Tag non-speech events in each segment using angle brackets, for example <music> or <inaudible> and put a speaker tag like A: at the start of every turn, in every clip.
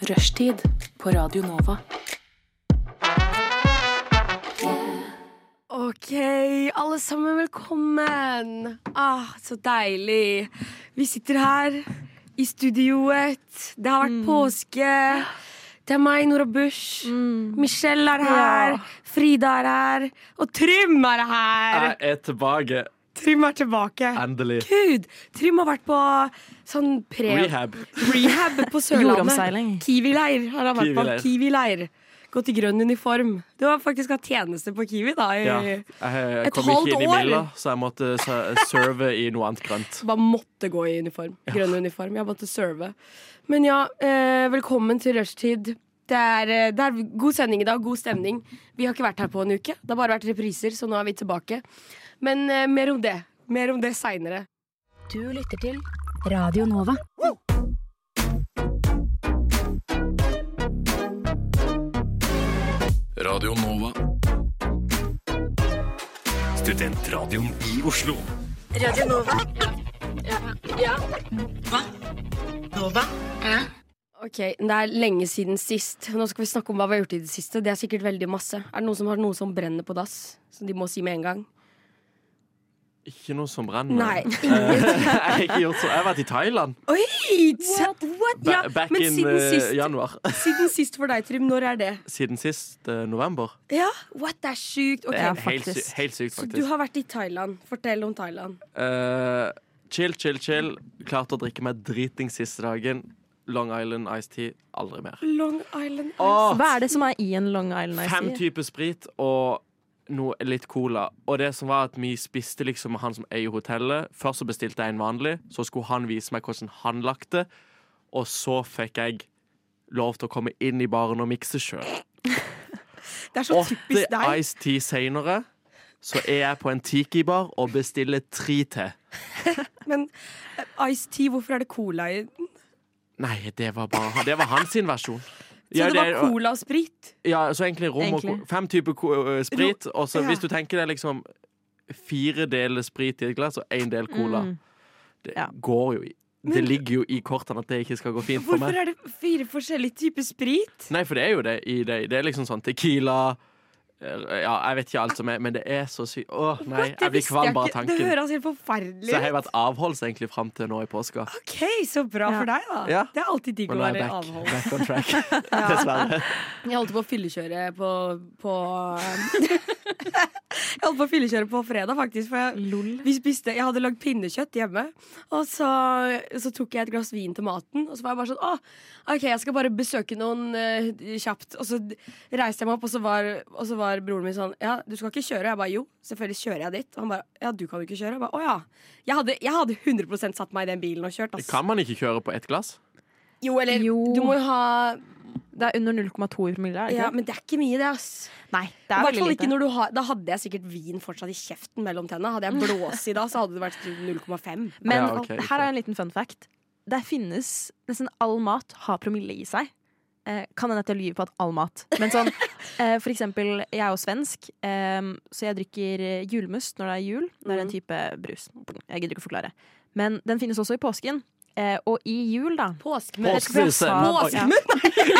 A: Rushtid på Radio Nova.
B: Ok, alle sammen velkommen. Ah, så deilig. Vi sitter her i studioet. Det har vært påske. Det er meg, Nora Bush. Michelle er her. Frida er her. Og Trym er her.
C: Jeg er tilbake.
B: Trym er tilbake.
C: Endelig.
B: Gud, Trym har vært på sånn pre...
C: Rehab.
B: Rehab på
D: Jordomseiling.
B: Sørlandet. Kiwi-leir har han vært på.
C: Kiwi-leir.
B: Kiwi-leir. Gått i grønn uniform. Du har faktisk hatt tjeneste på Kiwi, da. i-
C: Ja. Jeg, jeg
B: Et
C: kom ikke inn i
B: halvt år.
C: Milla, så jeg måtte se- serve i noe annet grønt.
B: Bare måtte gå i uniform. Grønn uniform. Jeg måtte serve. Men ja, eh, velkommen til rushtid. Det er, eh, det er god sending i dag, god stemning. Vi har ikke vært her på en uke. Det har bare vært repriser, så nå er vi tilbake. Men eh, mer om det. Mer om det seinere.
E: Du lytter til Radio Nova.
F: Radio Nova. Studentradioen i Oslo.
B: Ok, Det er lenge siden sist. Nå skal vi snakke om hva vi har gjort i det siste. Det er sikkert veldig masse. Er det noen som har noe som brenner på dass? Som de må si med en gang?
C: Ikke noe som brenner.
B: Nei. <laughs>
C: Eh,
B: Ingen.
C: <laughs> jeg, har ikke gjort så. jeg har vært i Thailand
B: Oi! What?
C: ba
B: Ja,
C: back
B: men
C: in
B: siden
C: eh,
B: sist,
C: januar.
B: siden sist for deg, Trym, når er det?
C: Siden sist eh, november.
B: Ja, what? Det er sjukt. Ok,
D: Ja,
C: Helt, sy
D: Faktisk.
C: helt sykt,
B: Så du
C: faktisk.
B: har vært i Thailand. Fortell om Thailand.
C: Eh, chill, chill, chill. Klarte å drikke meg driting siste dagen. Long Island Ice Tea. Aldri mer.
B: Long Island
C: Åh,
D: Hva er det som er i en Long Island Ice?
C: Fem typer sprit og noe litt cola. Og det som var at vi spiste liksom med han som eier hotellet. Først så bestilte jeg en vanlig, så skulle han vise meg hvordan han lagde. Og så fikk jeg lov til å komme inn i baren og mikse sjøl.
B: Det er <laughs> så
C: Åtte
B: typisk deg.
C: Ice Tea seinere så er jeg på en tiki-bar og bestiller tre til.
B: Men Ice Tea, hvorfor er det cola i den?
C: Nei, det var bare han. Det var hans sin versjon.
B: Så det var cola og sprit?
C: Ja, så egentlig rom og
D: Egentlig.
C: ko- fem typer ko- ø, sprit. Og så
B: ja.
C: hvis du tenker deg liksom fire deler sprit i et glass og én del cola.
B: Mm.
C: Det
D: Ja.
C: går jo i Det ligger jo i kortene at det ikke skal gå fint for
B: Hvorfor
C: meg.
B: er det fire forskjellige typer sprit?
C: Nei, for det er jo det i det. Det er liksom sånn Tequila ø, Ja, jeg vet ikke alt som er, men det er så sykt. Åh, nei,
B: Det
C: jeg blir
B: visste
C: kvalm bare av
B: ikke. Det
C: tanken.
B: høres helt forferdelig
C: Så jeg har
B: ut.
C: vært avholds egentlig fram til nå i påska.
B: OK, så bra
D: Ja.
B: for deg, da.
C: Ja.
B: Det er alltid digg
C: Men
B: å
C: nå er
B: være
C: jeg back,
B: avholds.
C: back
B: <laughs>
C: on track. <laughs> Dessverre.
B: Jeg holdt på å fyllekjøre på,
D: <laughs>
B: på Jeg holdt på å fyllekjøre på fredag, faktisk. For jeg,
D: Lol.
B: Vi spiste, jeg hadde lagd pinnekjøtt hjemme, og så, så tok jeg et glass vin til maten. Og så var jeg bare sånn Å, OK, jeg skal bare besøke noen eh, kjapt. Og så d- reiste jeg meg opp, og så, var, og så var broren min sånn Ja, du skal ikke kjøre? Og jeg bare jo, selvfølgelig kjører jeg dit. Og han bare ja, du kan jo ikke kjøre. Jeg bare å ja. Jeg hadde, jeg hadde 100 satt meg i den bilen og kjørt. ass.
C: Kan man ikke kjøre på ett glass?
B: Jo, eller
D: Jo.
B: Du må jo ha
D: Det er under 0,2 i promille, er det
B: Ja,
D: ikke?
B: men det er ikke mye, det, ass.
D: Nei, det
B: I
D: er
B: hvert
D: veldig
B: fall
D: lite.
B: ikke når du har Da hadde jeg sikkert vin fortsatt i kjeften mellom tenna. Hadde jeg blås i da, så hadde det vært sånn 0,5.
D: Men
C: Ja, ok,
D: her er en liten fun fact. Det finnes nesten all mat har promille i seg. Eh, kan hende at jeg lyver på at all mat. Men <laughs> sånn, eh, for eksempel, jeg er jo svensk, eh, så jeg drikker eh, julmust når det er jul. Det er en type brus. Jeg gidder ikke å forklare. Men den finnes også i påsken. Eh, og i jul, da.
B: Påskmørk.
C: Påskmusen.
D: Ja.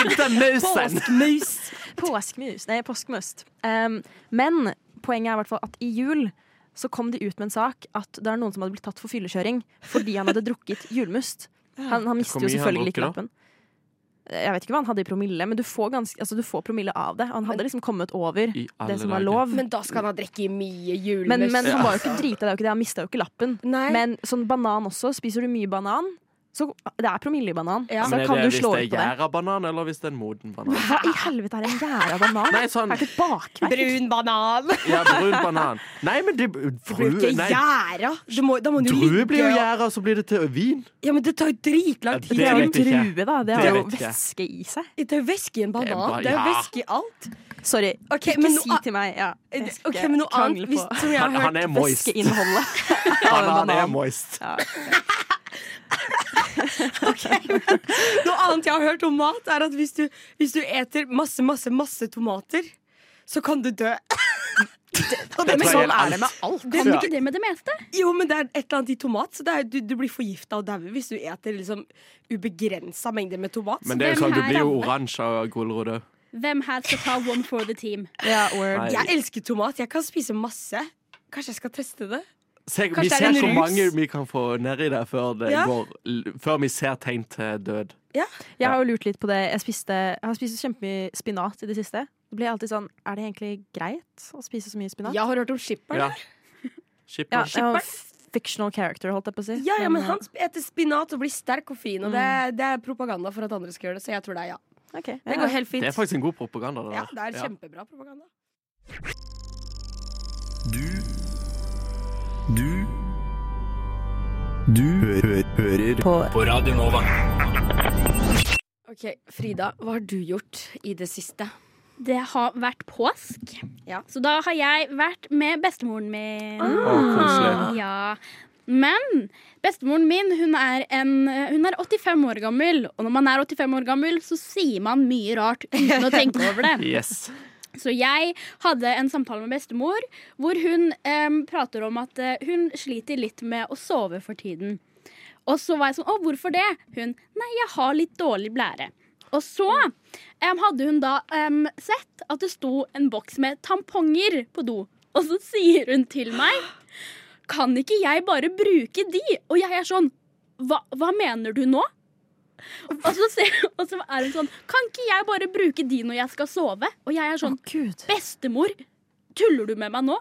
C: Intermusen!
B: Påskmus.
D: Påskmus. Nei, påskmust. Um, men poenget er i hvert fall at i jul så kom de ut med en sak at det er noen som hadde blitt tatt for fyllekjøring fordi han hadde drukket julmust. Han, han mister
C: Hvor
D: jo
C: mye har han
D: selvfølgelig
C: drukket da?
D: knappen. Jeg vet ikke hva han hadde i promille, men du får, ganske, altså, du får promille av det. Han hadde liksom kommet over
C: I alle
D: det som var
C: dager.
D: lov. Men,
B: Men da skal han ha drikke mye julemust.
D: men, han var jo ikke drita, det er jo ikke det. Han mista jo ikke lappen.
B: Nei.
D: Men sånn banan også. Spiser du mye banan, så det er promille i banan.
B: Ja.
D: Så
C: Men er
D: kan
C: det
D: du
C: hvis
D: slå
C: det
D: ut
C: er
D: på det.
C: gjærabanan, eller hvis det er en moden banan?
D: Hva i helvete er en gjæra banan?
C: Nei, sånn-
D: Er det ikke et bakverk?
B: Brun banan.
C: Ja, brun banan. Nei, men det
B: Blir jo
C: frue,
B: ikke
C: nei,
B: gjæra. Du må, da må du
C: Drue
B: ligge
C: blir jo
B: og-
C: gjæra, så blir det til vin.
B: Ja, men det tar jo dritlang
C: Ja,
B: tid.
D: Det
C: Det
D: er jo en
C: vet jeg ikke.
D: drue, da. Det
C: Det
D: har jo
C: vet jeg.
D: væske i seg.
B: Det er jo væske i en
C: Det er
B: banan.
C: bare-
B: Det er jo
C: ja.
B: væske i alt.
D: Sorry.
B: Ok,
D: ikke
B: men
D: si
B: noe-
D: til meg ja, jeg skal
B: Ok, Men noe
D: krangle
B: annet hvis,
D: på
B: som jeg har
C: Han, han
B: hørt
C: er moist. <laughs>
D: væskeinnholdet.
C: Han,
D: av en
C: han er
D: banan.
C: moist.
D: Ja.
B: Noe annet jeg har hørt om mat, er at hvis du, hvis du eter masse, masse, masse tomater, så kan du dø.
C: det tar
D: Men sånn
C: helt
D: er det
C: alt.
D: med alt.
G: Kan ikke det med det meste?
B: Jo, men det er et eller annet i tomat. Så det er, du, du blir forgifta og dauer hvis du eter liksom ubegrensa mengder med tomat.
C: Men det er jo
G: Hvem
C: sånn, du
G: her
C: blir jo
G: er-
C: oransje av gulrot òg.
G: Hvem her skal ta one for the team?
C: Nei.
B: Jeg elsker tomat. Jeg kan spise masse. Kanskje jeg skal teste det?
C: Se,
B: Kanskje
C: vi
B: det er
C: ser
B: en
C: hvor
B: rus?
C: mange vi kan få nedi der før, det
B: Ja.
C: går, l- før vi ser tegn til død.
D: Jeg har jo lurt litt på det. Jeg, spiste, jeg har spist kjempemye spinat i det siste. Det blir jeg alltid sånn Er det egentlig greit å spise så mye spinat?
B: Jeg har hørt om skipper. Ja.
C: Ja.
D: Ja,
C: Skipper.
D: det er jo en fictional character, holdt jeg på å si.
B: Ja, ja, men
D: eh,
B: han spiser spinat og blir sterk og fin, og det, det er propaganda for at andre skal gjøre det, så jeg tror det er Mm. ja.
D: eh, ok, ja,
B: Det
D: ja.
B: går helt fint.
C: Det er faktisk en god propaganda. Det der.
B: ja, det er kjempebra propaganda.
F: Du Du Du hø hø hører på. Radio Nova.
B: Ok, Frida, hva har du gjort i det siste?
G: Det har vært påsk.
B: Ja.
G: Så da har jeg vært med bestemoren min. Ah,
C: Å, koselig.
G: Ja. Men bestemoren min hun er, en, hun er 85 år gammel. Og når man er 85 år gammel, så sier man mye rart uten å tenke over det.
C: Yes.
G: Så jeg hadde en samtale med bestemor hvor hun em, prater om at eh, hun sliter litt med å sove for tiden. Og så var jeg sånn Å, hvorfor det? Hun Nei, jeg har litt dårlig blære. Og så em, hadde hun da em, sett at det sto en boks med tamponger på do. Og så sier hun til meg Kan ikke jeg bare bruke de? Og jeg er sånn Hva, hva mener du nå? Og så, ser, og så er hun sånn Kan ikke jeg bare bruke de når jeg skal sove? Og jeg er sånn
D: Å, Gud.
G: Bestemor, tuller du med meg nå?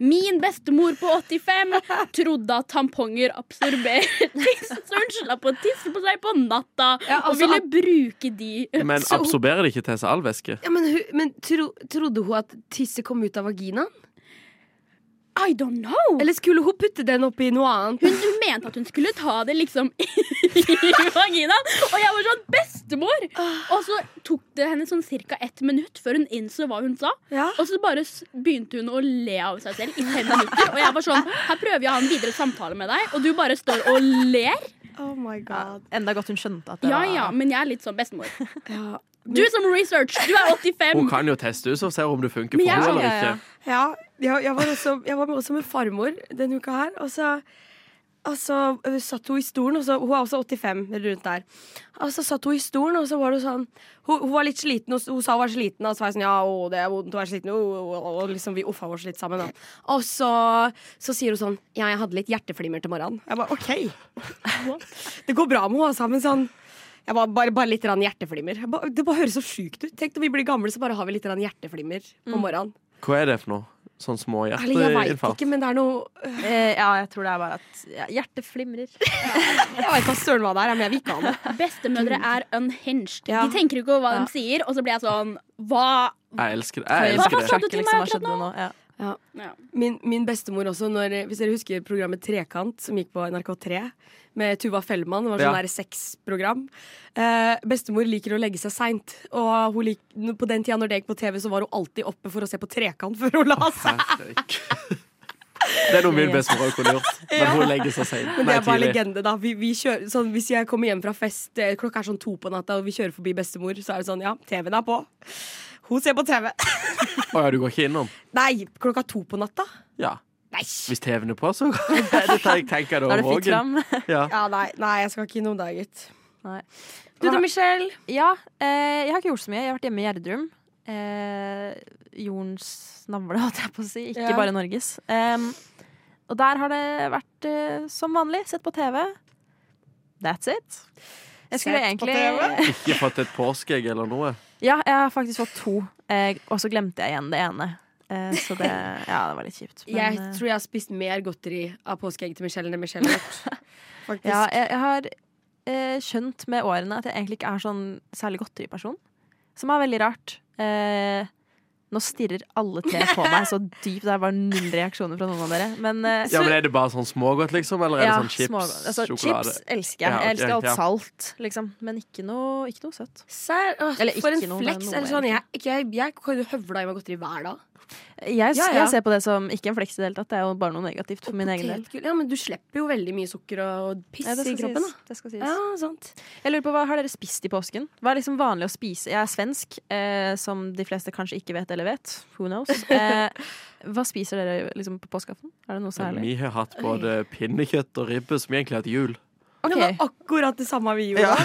G: Min bestemor på 85 trodde at tamponger absorberer tiss, så hun slapp å tisse på seg på natta
B: altså
G: og ville bruke de.
C: Men
B: Så-
C: absorberer det ikke til seg all væske?
B: Ja, men hun- men tro, trodde hun at tisset kom ut av vaginaen?
G: I don't know!
B: Eller skulle hun putte den oppi noe annet?
G: Hun, hun mente at hun skulle ta det liksom <laughs> i vaginaen, og jeg var sånn Bestemor! Og så tok det henne sånn ca. ett minutt før hun innså hva hun sa.
B: Ja.
G: Og så bare s- begynte hun å le av seg selv i fem minutter. Og jeg var sånn Her prøver jeg å ha en videre samtale med deg, og du bare står og ler.
B: Oh my god.
D: Enda godt hun skjønte at det
G: Ja
D: var
G: ja, men jeg er litt sånn
C: <laughs>
G: bestemor.
B: Ja.
G: Du som research, du er
C: Hun
G: 85.
C: kan jo teste ut og se om det funker
G: Men
C: for
G: jeg-
C: henne
D: ja,
C: eller
D: ja.
C: ikke.
B: Ja, jeg, jeg, var også, jeg var med også med farmor denne uka her. Og så, og så øh, satt hun i stolen, og så, hun er også 85 eller rundt der. Og så satt hun i stolen, og så var det sånn Hun, hun var litt sliten, og s- hun sa hun var sliten, og så var jeg sånn Ja, å, det er vondt å være sliten, å, å, å, og liksom vi uffa oss litt sammen. Da. Og så, så sier hun sånn Ja, jeg hadde litt hjerteflimmer til morgenen. Jeg bare OK. <laughs> Det går bra med henne, altså, men sånn jeg bare, bare, bare litt grann hjerteflimmer. Jeg bare- Det bare høres så sjukt ut. Tenk når vi blir gamle, så bare har vi litt grann hjerteflimmer på morgenen.
C: Hva er det for noe? Sånn små
B: Eller jeg veit
C: hjerteinfarkt?
B: ikke, men det er noe
D: Eh, ja, jeg tror det er bare at ja, hjertet flimrer.
B: <laughs> Jeg veit hva søren hva det er, men jeg vil ikke ha det.
G: Bestemødre er unhinged.
B: Ja.
G: De tenker ikke over hva
D: Ja.
G: de sier, og så blir jeg sånn Hva?
C: Jeg elsker det. Jeg
G: Hva
C: elsker
G: sa
C: det.
D: liksom
G: du til meg akkurat nå?
D: Ja.
G: Ja.
B: Min, min bestemor også, når, hvis dere husker programmet Trekant, som gikk på NRK3, med Tuva Fellmann, det var sånn
C: Ja.
B: der sexprogram. Eh, bestemor liker å legge seg seint, og hun lik, på den tida når det gikk på TV, så var hun alltid oppe for å se på Trekant før hun la seg.
C: Herregud. Det er noe min bestemor også kunne gjort. Men hun legger seg seint.
B: <laughs> Men det
C: Nei,
B: er bare
C: tidlig.
B: legende, da. Vi, vi kjører, sånn, hvis jeg kommer hjem fra fest, eh, klokka er sånn to på natta, og vi kjører forbi bestemor, så er det sånn, ja, TV-en er på. Hun ser på TV.
C: Å ja, du går ikke innom?
B: <laughs> Nei, klokka to på natta.
C: Ja.
B: Nei.
C: Hvis TV-en er på, så <laughs> det tar jeg tenker det
D: Da er det
C: over
D: fritt fram.
C: Ja.
B: Ja, nei, nei, jeg skal ikke innom deg, gitt.
D: Nei.
B: Du da, Michelle?
D: Ja, eh, jeg har ikke gjort så mye. Jeg har vært hjemme i Gjerdrum. Eh, jordens navle, <laughs> holdt jeg på å si. Ikke
B: Ja.
D: bare Norges. Em, og der har det vært eh, som vanlig. Sett på TV. That's it. Jeg skulle
B: Sett på
D: egentlig
C: Ikke fått et påskeegg eller noe.
D: <laughs> Ja, jeg har faktisk fått to. Eh, og så glemte jeg igjen det ene. Eh, så det Ja, det var litt kjipt. Men,
B: Jeg
D: eh,
B: tror jeg har spist mer godteri av påskeegg til Michelle enn det Michelle har
D: <laughs>
B: gjort. Faktisk.
D: Ja, jeg, jeg har eh, skjønt med årene at jeg egentlig ikke er sånn særlig godteriperson. Som er veldig rart. Eh, nå stirrer alle tre på meg <laughs> så dypt. Det er bare null reaksjoner fra noen av dere. Men, eh,
C: Ja, men Er det bare sånn smågodt, liksom? Eller er det
D: ja,
C: sånn chips,
D: smågodt. altså,
C: sjokolade?
D: chips elsker jeg.
C: Ja, ok,
D: jeg elsker alt
C: ja.
D: salt, liksom. Men ikke noe, ikke noe søtt.
B: Sær, åh,
D: Eller
B: for en
D: ikke noe, det er
B: flex.
D: noe
B: eller sånn, jeg, ikke, jeg, jeg kan jo høvle i meg godteri hver dag.
D: Jeg,
B: Ja, ja.
D: jeg ser på det som ikke en fleks i det hele tatt. Det er jo bare noe negativt for min egen del.
B: Potetgull. Ja, men du slipper jo veldig mye sukker og, og piss
D: Ja, det
B: i
D: skal
B: kroppen,
D: sies. Det skal sies.
B: da. Ja, sant.
D: Jeg lurer på, Hva har dere spist i påsken? Hva er liksom vanlig å spise? Jeg er svensk, eh, som de fleste kanskje ikke vet eller vet. Who <laughs> knows? Eh, hva spiser dere liksom på påskeaften? Er det noe særlig?
C: Vi har hatt både pinnekjøtt og ribbe, som vi egentlig har til jul.
D: Ok.
B: Det var akkurat det samme vi gjorde.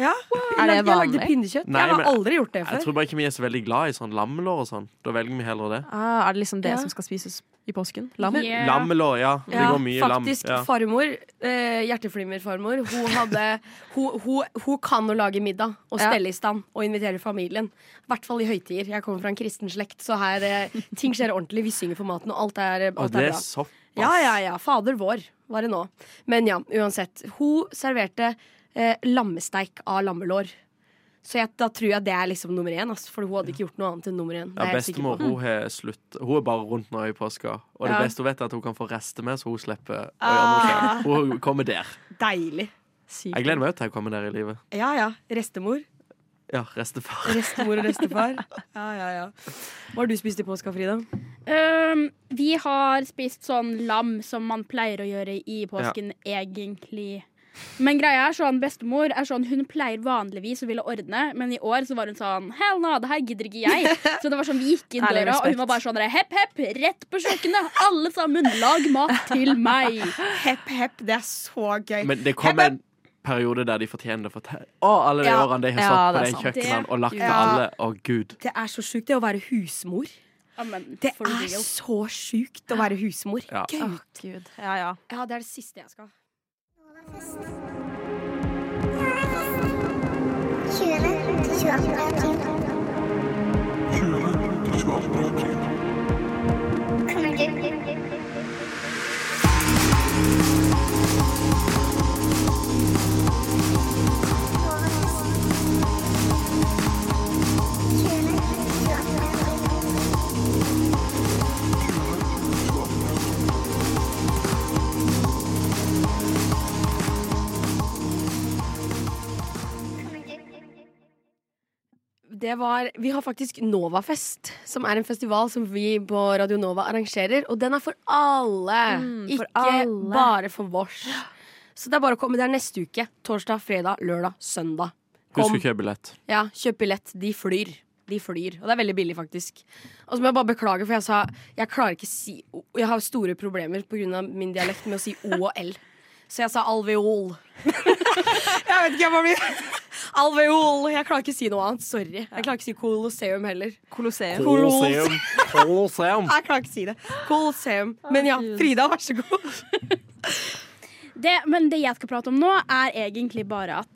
B: Ja.
D: Er det
B: Jeg lagde
D: vanlig?
B: pinnekjøtt.
C: Nei,
B: jeg har
C: men-
B: aldri gjort det
C: Jeg
B: før.
C: tror bare ikke vi er så veldig glad i sånn lammelår og sånn. Da velger vi heller det.
D: Ah, er det liksom det
B: Ja.
D: som skal spises i påsken? Lam?
G: Yeah.
C: Lammelår, ja. Det
B: Ja,
C: går mye
B: faktisk,
C: lam. Ja.
B: farmor, eh, hjerteflimmerfarmor, hun, hadde- <laughs> hun, hun, hun kan å lage middag og
D: Ja.
B: stelle i stand og invitere familien. I hvert fall i høytider. Jeg kommer fra en kristen slekt, så her eh, ting skjer ordentlig. Vi synger for maten, og alt er,
C: Og
B: alt
C: det
B: er
C: er
B: bra.
C: såpass.
B: Ja, ja, ja. Fader vår var det nå. Men ja, uansett. Hun serverte eh, lammesteik av lammelår. Så jeg, da tror jeg det er liksom nummer én, ass, for hun hadde ikke gjort noe annet enn nummer én. Det
C: Ja,
B: er jeg sikker på.
C: bestemor hun har slutt Hun er bare rundt nå i påska. Og det
B: Ja. Ah.
C: beste hun vet, er at hun kan få rester med, så hun slipper å gjøre noe selv. Hun kommer der.
B: Deilig.
D: Sykt.
C: Jeg gleder meg til å komme der i livet.
B: Ja ja. Restemor.
C: Ja,
B: <laughs>
C: restefar.
B: Restemor og restefar. <laughs> Ja, ja, ja. Hva har du spist i påska, Frida?
G: Øhm, vi har spist sånn lam som man pleier å gjøre i påsken, egentlig. Men greia er sånn, bestemor er sånn, hun pleier vanligvis å ville ordne, men i år så var hun sånn Hell no, det her gidder ikke jeg. Så det var sånn, vi gikk inn
D: Ærlig
G: døra, og
D: respekt.
G: hun var bare sånn Hepp, hepp, rett på kjøkkenet. Alle sammen, lag mat til meg.
B: Hepp, hepp. Det er så gøy.
C: Men det kom en periode der de fortjener det. For te- Å, alle de
B: Ja.
C: årene de har
D: Ja,
C: satt på
D: det er
C: den
D: sant.
C: kjøkkenene og lagt til
B: Ja.
C: alle. Å, gud.
B: det er så sjukt, det å være husmor.
G: Amen,
B: Det
G: for
B: er
G: real.
B: så sjukt å være husmor. Ah.
C: Ja.
B: Gøy.
D: Åh, Gud. Ja, ja.
B: Ja, det er det siste jeg skal.
H: 20. til 22. april. Kommer du?
B: det var Vi har faktisk Novafest, som er en festival som vi på Radio Nova arrangerer. Og den er for alle,
D: Mm, for
B: ikke
D: alle.
B: bare for vårs. Så det er bare å komme. Det er neste uke. Torsdag, fredag, lørdag, søndag.
C: Husk
B: Kom.
C: å kjøpe billett.
B: Ja, kjøp billett. De flyr. De flyr. Og det er veldig billig, faktisk. Og så må jeg bare beklage, for jeg sa Jeg klarer ikke si o- Jeg har store problemer pga. min dialekt med å si O og L. Så jeg sa <laughs> alveol. jeg vet ikke, jeg bare blir <laughs> Alveol. Jeg klarer ikke si noe annet. Sorry. Jeg klarer ikke si Colosseum heller.
D: Colosseum.
C: Colosseum. Colosseum.
B: Jeg klarer ikke si det. Colosseum. Men ja, Frida, vær så god.
G: Det, men det jeg skal prate om nå, er egentlig bare at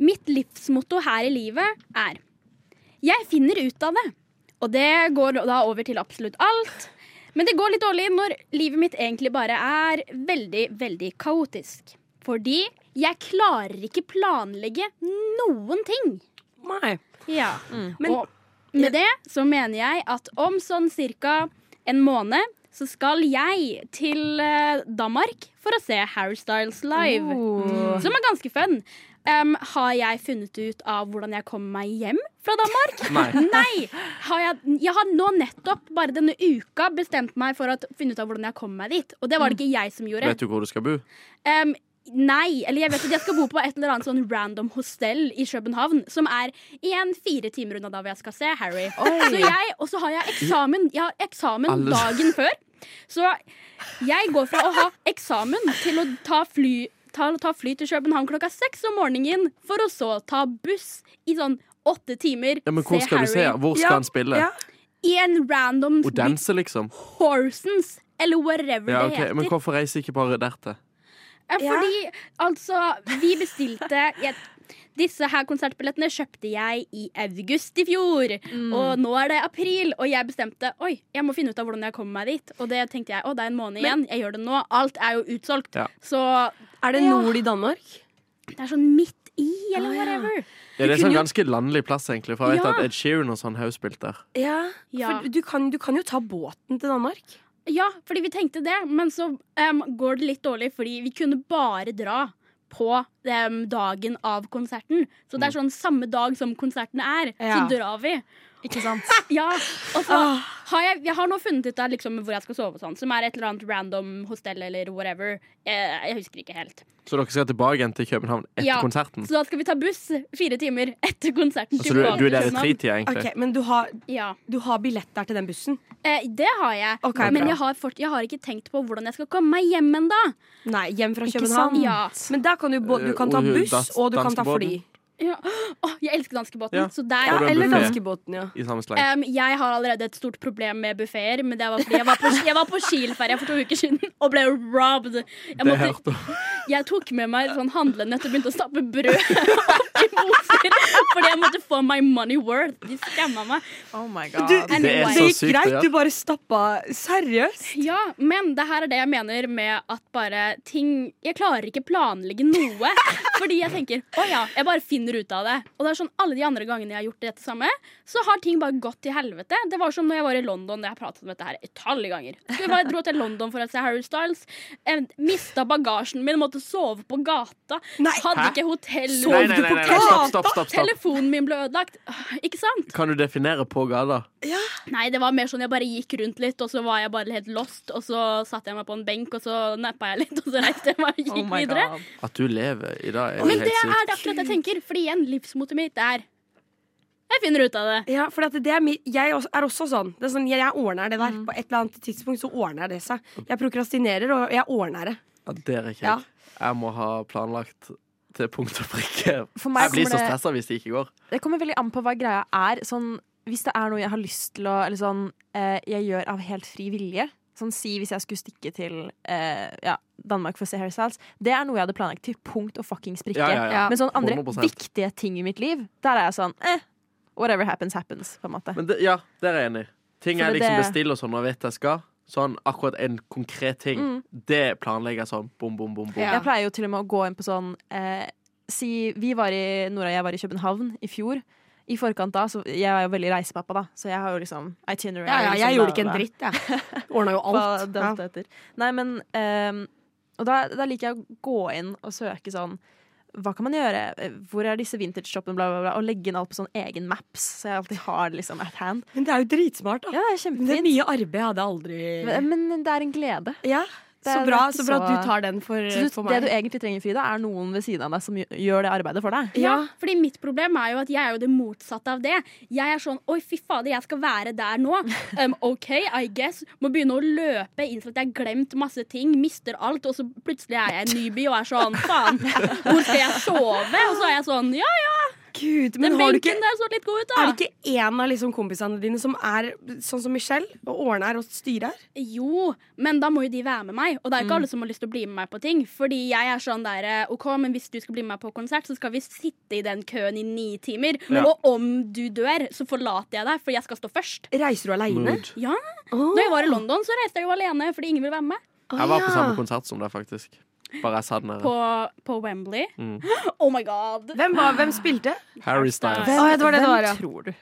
G: mitt livsmotto her i livet er Jeg finner ut av det. Og det går da over til absolutt alt. Men det går litt dårlig når livet mitt egentlig bare er veldig, veldig kaotisk. Fordi jeg klarer ikke planlegge noen ting.
B: Nei.
G: Ja.
B: Men-
G: og med det så mener jeg at om sånn ca. en måned så skal jeg til eh, Danmark for å se Harry Styles live.
D: Oh.
G: Som er ganske fun. Em, har jeg funnet ut av hvordan jeg kommer meg hjem fra
C: <laughs>
G: Danmark?
B: <laughs>
C: Nei.
G: Nei! Har jeg, jeg har nå nettopp, bare denne uka, bestemt meg for å finne ut av hvordan jeg kommer meg dit. Og det var det ikke jeg som gjorde.
C: Vet du hvor du skal bo?
G: Ehm, nei, eller jeg vet at jeg skal bo på et eller annet sånn random hostell i København, som er igjen fire timer unna da hvor jeg skal se Harry. Så jeg, Og så har jeg eksamen, jeg har eksamen
C: Alle-
G: dagen før. Så jeg går fra å ha eksamen til å ta fly, ta, ta fly til København klokka seks om morgenen, for å så ta buss i sånn åtte timer,
C: Ja, men hvor skal du se? Hvor skal
B: Ja,
C: han spille?
B: ja.
G: i en random
C: Og danse, liksom?
G: Horsens, eller whatever
C: Ja,
G: det
C: ok,
G: heter.
C: Men hvorfor reiser ikke bare der til?
G: Eh, Fordi, altså, vi bestilte jeg, Disse her konsertbillettene kjøpte jeg i august i fjor.
B: Mm.
G: Og nå er det april, og jeg bestemte Oi, jeg må finne ut av hvordan jeg kommer meg dit. Og det tenkte jeg, å, det er en måned igjen. Jeg gjør det nå. Alt er jo utsolgt.
C: Ja.
G: Så
B: Er det nord i Danmark?
G: det er sånn midt i, eller whatever.
C: Ja, det er
B: kunne
C: sånn
B: jo-
C: ganske landlig plass, egentlig. For jeg vet
G: Ja.
C: at Ed Sheeran og sånn har jo spilt der.
B: Ja.
G: Ja.
B: For du kan, du kan jo ta båten til Danmark.
G: Ja, fordi vi tenkte det, men så em, går det litt dårlig, fordi vi kunne bare dra på
C: Mm.
G: em, dagen av konserten. Så det er sånn samme dag som konserten er,
B: Ja.
G: så drar vi.
D: Ikke sant?
G: <laughs> Ja, og så
C: Ah.
G: har jeg, jeg har nå funnet ut av liksom hvor jeg skal sove, og sånn, som er et eller annet random hostell eller whatever. Jeg, jeg husker ikke helt.
C: Så dere skal tilbake igjen til København etter
G: Ja.
C: konserten?
G: Så da skal vi ta buss fire timer etter konserten.
C: Mm. Altså, du, du er der i
G: København.
C: tretida, egentlig?
B: Ok, Men du har,
G: Ja.
B: du har billett der til den bussen?
G: Eh, det har jeg,
B: Ok, bra.
G: men jeg har, fort, jeg har ikke tenkt på hvordan jeg skal komme meg hjem ennå.
B: Nei, hjem fra
D: Ikke
B: København?
D: sant?
G: Ja.
B: Men der kan du, bå- du kan ta
C: Eh, og
B: buss,
C: dans-
B: og du kan ta fly.
C: danskebåten.
G: Ja. Åh, jeg elsker danskebåten,
C: Ja.
G: så der
C: Ja,
B: Ja,
C: Får du en
B: eller
C: buffet?
B: danskebåten, ja.
C: I samme sleng.
G: Em, jeg har allerede et stort problem med buffeer, men det var fordi jeg var på, jeg var på Kiel-ferie for to uker siden <laughs> og ble robbed. Jeg,
C: det
G: måtte,
C: hørte
G: jeg tok med meg sånn handlenett og begynte å stappe brød <laughs> opp i moser fordi jeg måtte få my money worth. De skamma meg.
D: Oh my god.
B: Du-
C: Det er så
G: Anyway.
B: Det gikk
C: sykt,
B: greit,
C: ja.
B: du bare stappa Seriøst?
G: Ja, men det her er det jeg mener med at bare ting Jeg klarer ikke planlegge noe. Fordi jeg tenker å ja, jeg bare finner ut av det. Og det er sånn alle de andre gangene jeg har gjort dette samme, så har ting bare gått til helvete. Det var som når jeg var i London. Jeg har pratet om dette her utallige ganger. Så jeg bare dro til London for å se Harry Styles. Jeg Mista bagasjen min, måtte sove på gata.
B: Nei,
G: Hadde
C: hæ?
G: ikke hotell.
C: Nei, nei, nei, nei, nei. Stopp, stopp, stopp, stopp.
G: Telefonen min ble ødelagt. Ikke sant?
C: Kan du definere på gata?
G: Nei, det var mer sånn jeg bare gikk rundt litt, og så var jeg bare helt lost. Og så satte jeg meg på en benk, og så nappa jeg litt, og så reiste jeg meg og gikk
D: Oh my
G: videre.
D: god.
C: At du lever i dag, er
G: Men
C: helt
G: det er
C: sykt.
G: det akkurat jeg tenker, fordi igjen, livsmotet mitt er Jeg finner ut av det.
B: Ja, for det er mi, jeg også- er også sånn. Det er sånn jeg, jeg ordner det der. På et eller annet tidspunkt så ordner det seg. Jeg prokrastinerer, og jeg ordner det.
C: Ja, der er ikke
B: Ja.
C: jeg. Jeg må ha planlagt til punkt og prikke.
D: For meg
C: Jeg blir så
D: kommer det-
C: stressa hvis det ikke går.
D: Det kommer veldig an på hva greia er. Sånn, hvis det er noe jeg har lyst til å Eller sånn eh, jeg gjør av helt fri vilje. Sånn si hvis jeg skulle stikke til eh, ja, Danmark for å se Harry Styles. Det er noe jeg hadde planlagt til punkt og fuckings prikke.
C: Ja, ja, ja.
D: Men sånn andre
C: 100%.
D: viktige ting i mitt liv, der er jeg sånn eh, Whatever happens, happens, på en måte.
C: Men det, ja, der er jeg enig. Ting
D: For
C: jeg
D: det-
C: liksom
D: det-
C: bestiller og sånn og vet jeg skal. Sånn akkurat en konkret ting.
D: Mm.
C: Det planlegger jeg sånn bom, bom, bom. bom.
B: Ja.
D: Jeg pleier jo til og med å gå inn på sånn eh, Si vi var i Nora og jeg var i København i fjor. I forkant da, så Jeg er jo veldig reisepappa, da, så jeg har jo liksom itinerary.
B: Ja, ja,
D: liksom,
B: jeg gjorde
D: bla,
B: ikke en
D: bla, bla.
B: dritt, jeg. <laughs> Ordna jo
D: Hva
B: alt.
D: det
B: Ja.
D: alt heter. Nei, men ehm, Og da, da liker jeg å gå inn og søke sånn Hva kan man gjøre? Eh, Hvor er disse vintage-shoppene? Bla, bla, bla. Og legge inn alt på sånn egen maps, så jeg alltid har det liksom at hand.
B: Men det er jo dritsmart, da.
D: Ja, det er
B: Men det er
D: kjempefint.
B: mye arbeid jeg hadde aldri
D: Men men det er en glede.
B: Ja,
D: Det er-
B: så bra,
D: det er
B: så
D: ikke
B: bra
D: så-
B: at du tar den for,
D: Så du,
B: for
D: det du
B: meg.
D: egentlig trenger, Frida, er noen ved siden av deg som gj- gjør det arbeidet for deg.
G: Ja,
B: Ja.
G: fordi mitt problem er jo at jeg er jo det motsatte av det. Jeg er sånn Oi, fy fader, jeg skal være der
B: <laughs>
G: nå. Um, OK, I guess. Må begynne å løpe, innse at jeg har glemt masse ting, mister alt, og så plutselig er jeg en newbie og er sånn Faen, hvor skal jeg sove? Og så er jeg sånn Ja,
B: Gud, men
G: den
B: har du
G: benken
B: ikke
G: der så litt god ut, da.
B: er det ikke en av liksom kompisene dine som er sånn som Michelle og ordner og styrer?
G: Jo, men da må jo de være med meg. Og det er ikke alle som har lyst til å bli med meg på ting. Fordi jeg er sånn der eh, OK, men hvis du skal bli med meg på konsert, så skal vi sitte i den køen i ni timer.
C: Ja.
G: Og om du dør, så forlater jeg deg, for jeg skal stå først.
B: Reiser du aleine?
C: Mood.
G: Ja,
B: Oh.
G: Da jeg var i London, så reiste jeg jo alene fordi ingen ville være med.
C: Jeg var på samme konsert som deg, faktisk. Bare jeg satt
G: På,
C: nede.
G: på Wembley.
C: Mm.
G: <gasps> Oh my god!
B: Hvem, var, hvem spilte?
C: Harry Styles.
B: Å, ja, det var det det var, ja.
D: tror du?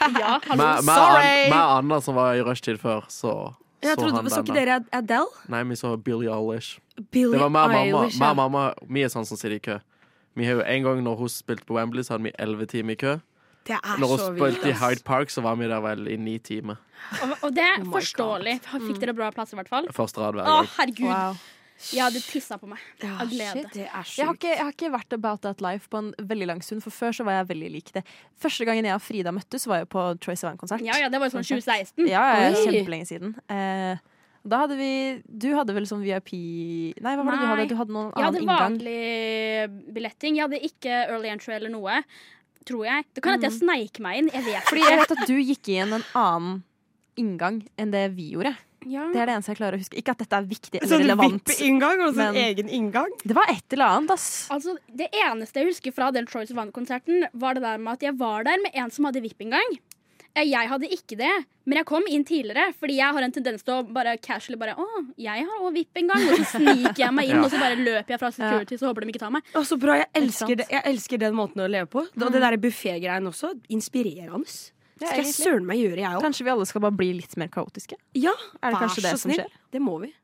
G: Ja, hallo.
C: Med, med,
B: Sorry!
C: An- med Anna som var i rushtid før, så
B: Jeg
C: så han
B: trodde, Så
C: den
B: ikke
C: da.
B: dere Ad- Adele?
C: Nei, vi så Billie Eilish.
B: Billie
C: Det var mer mamma.
B: Eilish,
C: Mer
B: ja.
C: mamma. Vi er sånn som sitter i kø. Vi har jo En gang når hun spilte på Wembley, så hadde vi elleve timer i kø.
B: Det er
C: Når hun
B: så vilt.
C: spilte i
B: ass.
C: Hyde Park, så var vi der vel i ni timer.
G: Og, og det er
B: Oh my
G: forståelig. Fikk dere bra plass, i hvert fall?
C: Første rad hver
G: Å,
C: gang.
G: herregud.
D: Wow.
G: Jeg hadde pissa på meg
B: Ja,
G: av glede.
B: Ah, shit, det er sjukt.
D: Jeg har, ikke, jeg har ikke vært about that life på en veldig lang stund, for før så var jeg veldig lik det. Første gangen jeg og Frida møttes, var jo på Troye Sivan-konsert.
G: Ja, ja, det var jo sånn 2016.
D: Ja, ja, ja,
B: Oi.
D: kjempelenge siden. Eh, da hadde vi Du hadde vel sånn VIP Nei, hva var det du
G: Nei.
D: hadde? Du hadde noen
G: Jeg hadde
D: annen inngang.
G: vanlig billetting. Jeg hadde ikke early entry eller noe. Tror jeg. Det kan hende jeg sneik meg inn. Jeg vet
D: Fordi jeg vet at du gikk inn en annen inngang enn det vi gjorde.
G: Ja.
D: Det er det eneste jeg klarer å huske. Ikke at dette er viktig
B: Sånn
D: eller relevant.
B: VIP-inngang og sånn
D: Men-
B: egen inngang.
D: Det var et eller annet, ass.
G: Altså, Det eneste jeg husker fra den Troy Sivan-konserten, var det der med at jeg var der med en som hadde VIP-inngang. Eh, Jeg hadde ikke det, men jeg kom inn tidligere, fordi jeg har en tendens til å bare casually bare Å, jeg har òg VIP-inngang. Og så sniker jeg meg inn,
C: Ja.
G: og så bare løper jeg fra security, så håper de ikke tar meg.
B: Å, så bra. Jeg
D: sant?
B: elsker, det, jeg elsker den måten å leve på. Det- Og det der buffé-greien også. Inspirerende.
D: Ja,
B: Skal jeg
D: egentlig.
B: søren meg gjøre, jeg òg.
D: Kanskje vi alle skal bare bli litt mer kaotiske?
B: Ja,
D: Er det
B: vær
D: kanskje det
B: så
D: som
B: snill.
D: skjer?
B: Det må vi.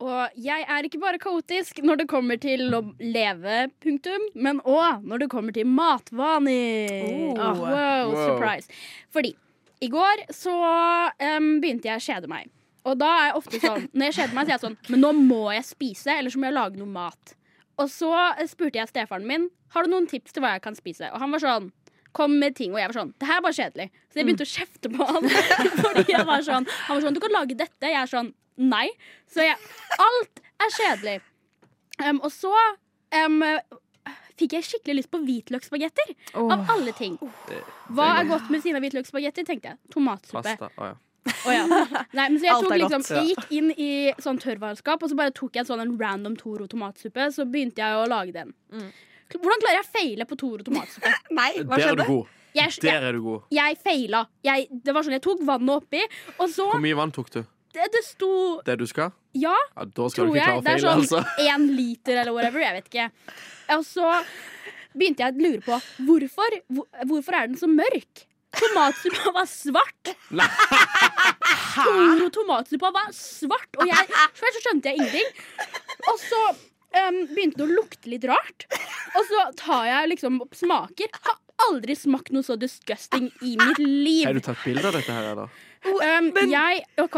G: Og jeg er ikke bare kaotisk når det kommer til å leve, punktum, men òg når det kommer til matvaner.
D: Oh.
G: Ah, wow,
C: Wow.
G: surprise. Fordi i går så em, begynte jeg å kjede meg. Og da er jeg ofte sånn, når jeg kjeder meg, så er jeg sånn Men nå må jeg spise, eller så må jeg lage noe mat. Og så eh, spurte jeg stefaren min Har du noen tips til hva jeg kan spise. Og han var sånn Kom med ting, og jeg var sånn Det her er bare kjedelig. Så jeg begynte å kjefte på han. <laughs> Fordi jeg var sånn Han var sånn Du kan lage dette. Jeg er sånn Nei. Så jeg Alt er kjedelig. Em, og så em, fikk jeg skikkelig lyst på hvitløksspagetter.
B: Ah,
G: Av alle ting.
D: Oh.
G: Hva er godt med siden av hvitløksspagetter, tenkte jeg. Tomatsuppe.
C: Eh, Pasta. Å, ja.
G: Å ja. Nei, men så jeg,
D: Alt
G: tok
D: er
G: liksom,
D: godt.
G: jeg gikk inn i sånn tørrvareskap, og så bare tok jeg en sånn en random Toro tomatsuppe. Så begynte jeg å lage den.
D: Mm.
G: Hvordan klarer jeg å feile på Toro tomatsuppe?
B: Nei, hva
C: Der er du
B: skjedde?
C: god. <laughs>
G: Jeg, jeg,
C: Der er du god.
G: jeg feila. Jeg, det var sånn, jeg tok vannet oppi, og så
C: Hvor mye vann tok du?
G: det, det sto
C: Det du skal?
G: Ja,
C: Ja, da skal
G: tror
C: du ikke klare
G: jeg.
C: å
G: Det er
C: feile,
B: <laughs>
G: sånn
C: altså.
G: <laughs> én liter eller whatever. Jeg vet ikke. Og så begynte jeg å lure på hvorfor, hvor, hvorfor er den så mørk? Tomatsuppa var svart. <laughs>
C: Nei.
G: Toro tomatsuppa var svart, og jeg, først så skjønte jeg ingenting. Og så em, begynte det å lukte litt rart. Og så tar jeg liksom opp smaker. Har aldri smakt noe så disgusting i mitt liv.
C: Har du tatt bilde av dette her, eller?
G: Um, jeg, ok.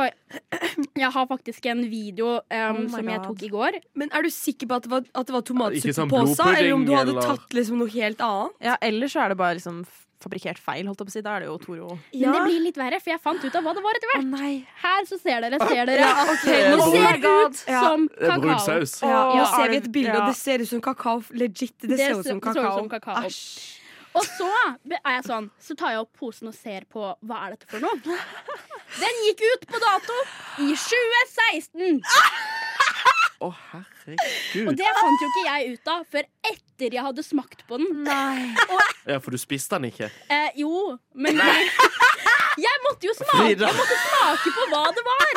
G: jeg har faktisk en video um,
D: Oh my
G: som jeg
D: God.
G: tok i går.
B: Men er du sikker på at det var, at det var
C: Ikke sånn
B: tomatsuppepåsa, eller om du
C: blodpudding,
B: hadde
C: eller-
B: tatt liksom noe helt annet?
D: Ja, ellers så er det bare liksom fabrikkert feil, holdt jeg på å si. Da er det jo Toro.
G: Men det blir litt verre, for jeg fant ut av hva det var etter hvert.
D: nei.
G: Her så ser dere, ser dere.
B: ok,
G: Nå
C: nå-
D: Oh
G: ser det
D: my
G: ut
B: <laughs> Ja.
G: som
C: Det er brun
G: kakao.
C: saus.
B: Ja, nå
D: Ja,
B: ser
D: er
B: vi
D: det-
B: et bilde,
D: ja.
B: og det ser ut som kakao. Legit, det, ser ut som
G: så-
B: kakao.
G: som kakao. Og så er jeg sånn, så tar jeg opp posen og ser på hva er dette for noe. <laughs> Den gikk ut på dato i 2016.
C: Å,
G: Og
C: herregud.
G: det fant jo ikke jeg ut av før etter jeg hadde smakt på den.
C: Ja, for du spiste den ikke.
G: Eh, jo, men <laughs> Jeg måtte jo smake,
C: Frida.
G: smake på hva det var!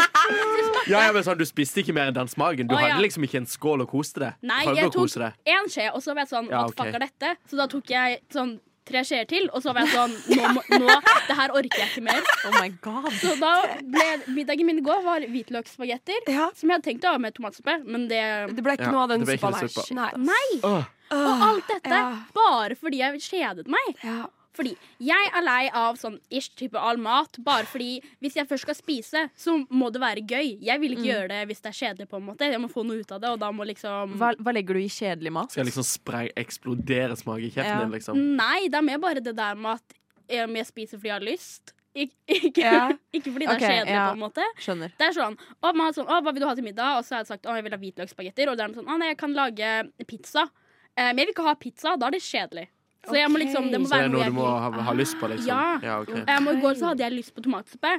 C: Ja, ja, men sånn, Du spiste ikke mer enn den smaken. Du
G: Å, ja.
C: hadde liksom ikke en skål og koste deg.
G: Nei,
C: Prøvde
G: jeg
C: å
G: tok
C: kose deg.
G: én skje, og så var jeg sånn
C: Ja,
G: What
C: ok.
G: fuck er dette? Så da tok jeg sånn tre skjeer til, og så var jeg sånn Nå, må- nå det her orker jeg ikke mer.
D: Oh my god.
G: Så da ble middagen min i går var hvitløksspagetter,
B: Ja.
G: som jeg hadde tenkt å ha med tomatsuppe, men det
B: Det ble ikke
C: Ja,
B: noe av den
C: det ble ikke
B: suppa
C: noe
B: der.
C: suppa.
B: Shit, ass.
G: Nei!
C: Åh,
G: Og alt dette
B: Ja.
G: bare fordi jeg kjedet meg.
B: Ja.
G: Fordi jeg er lei av sånn ish type all mat, bare fordi hvis jeg først skal spise, så må det være gøy. Jeg vil ikke gjøre det hvis det er kjedelig, på en måte. Jeg må få noe ut av det, og da må liksom
D: Hva, hva legger du i kjedelig mat?
C: skal liksom spreng, eksplodere smak i kjeften
D: Ja.
C: din, liksom.
G: Nei, det er mer bare det der med at eh, om jeg spiser fordi jeg har lyst. Ik <laughs> ikke,
D: Ja.
G: ikke fordi det
D: Ok,
G: er kjedelig,
D: ja.
G: på en måte.
D: Skjønner.
G: Det er sånn, å, man har sånn, å, hva vil du ha til middag? Og så har jeg sagt, å, jeg vil ha hvitløksspagetter. Og da er de sånn, å, nei, jeg kan lage pizza. Eh, men jeg vil ikke ha pizza, da er det kjedelig. Så jeg må liksom, det må
C: Så det
G: være
C: er noe
G: noe jeg
C: du må
G: vil.
C: ha, ha lyst på, liksom.
G: Ja.
C: ok.
G: Um, og i går så hadde jeg lyst på tomatsuppe.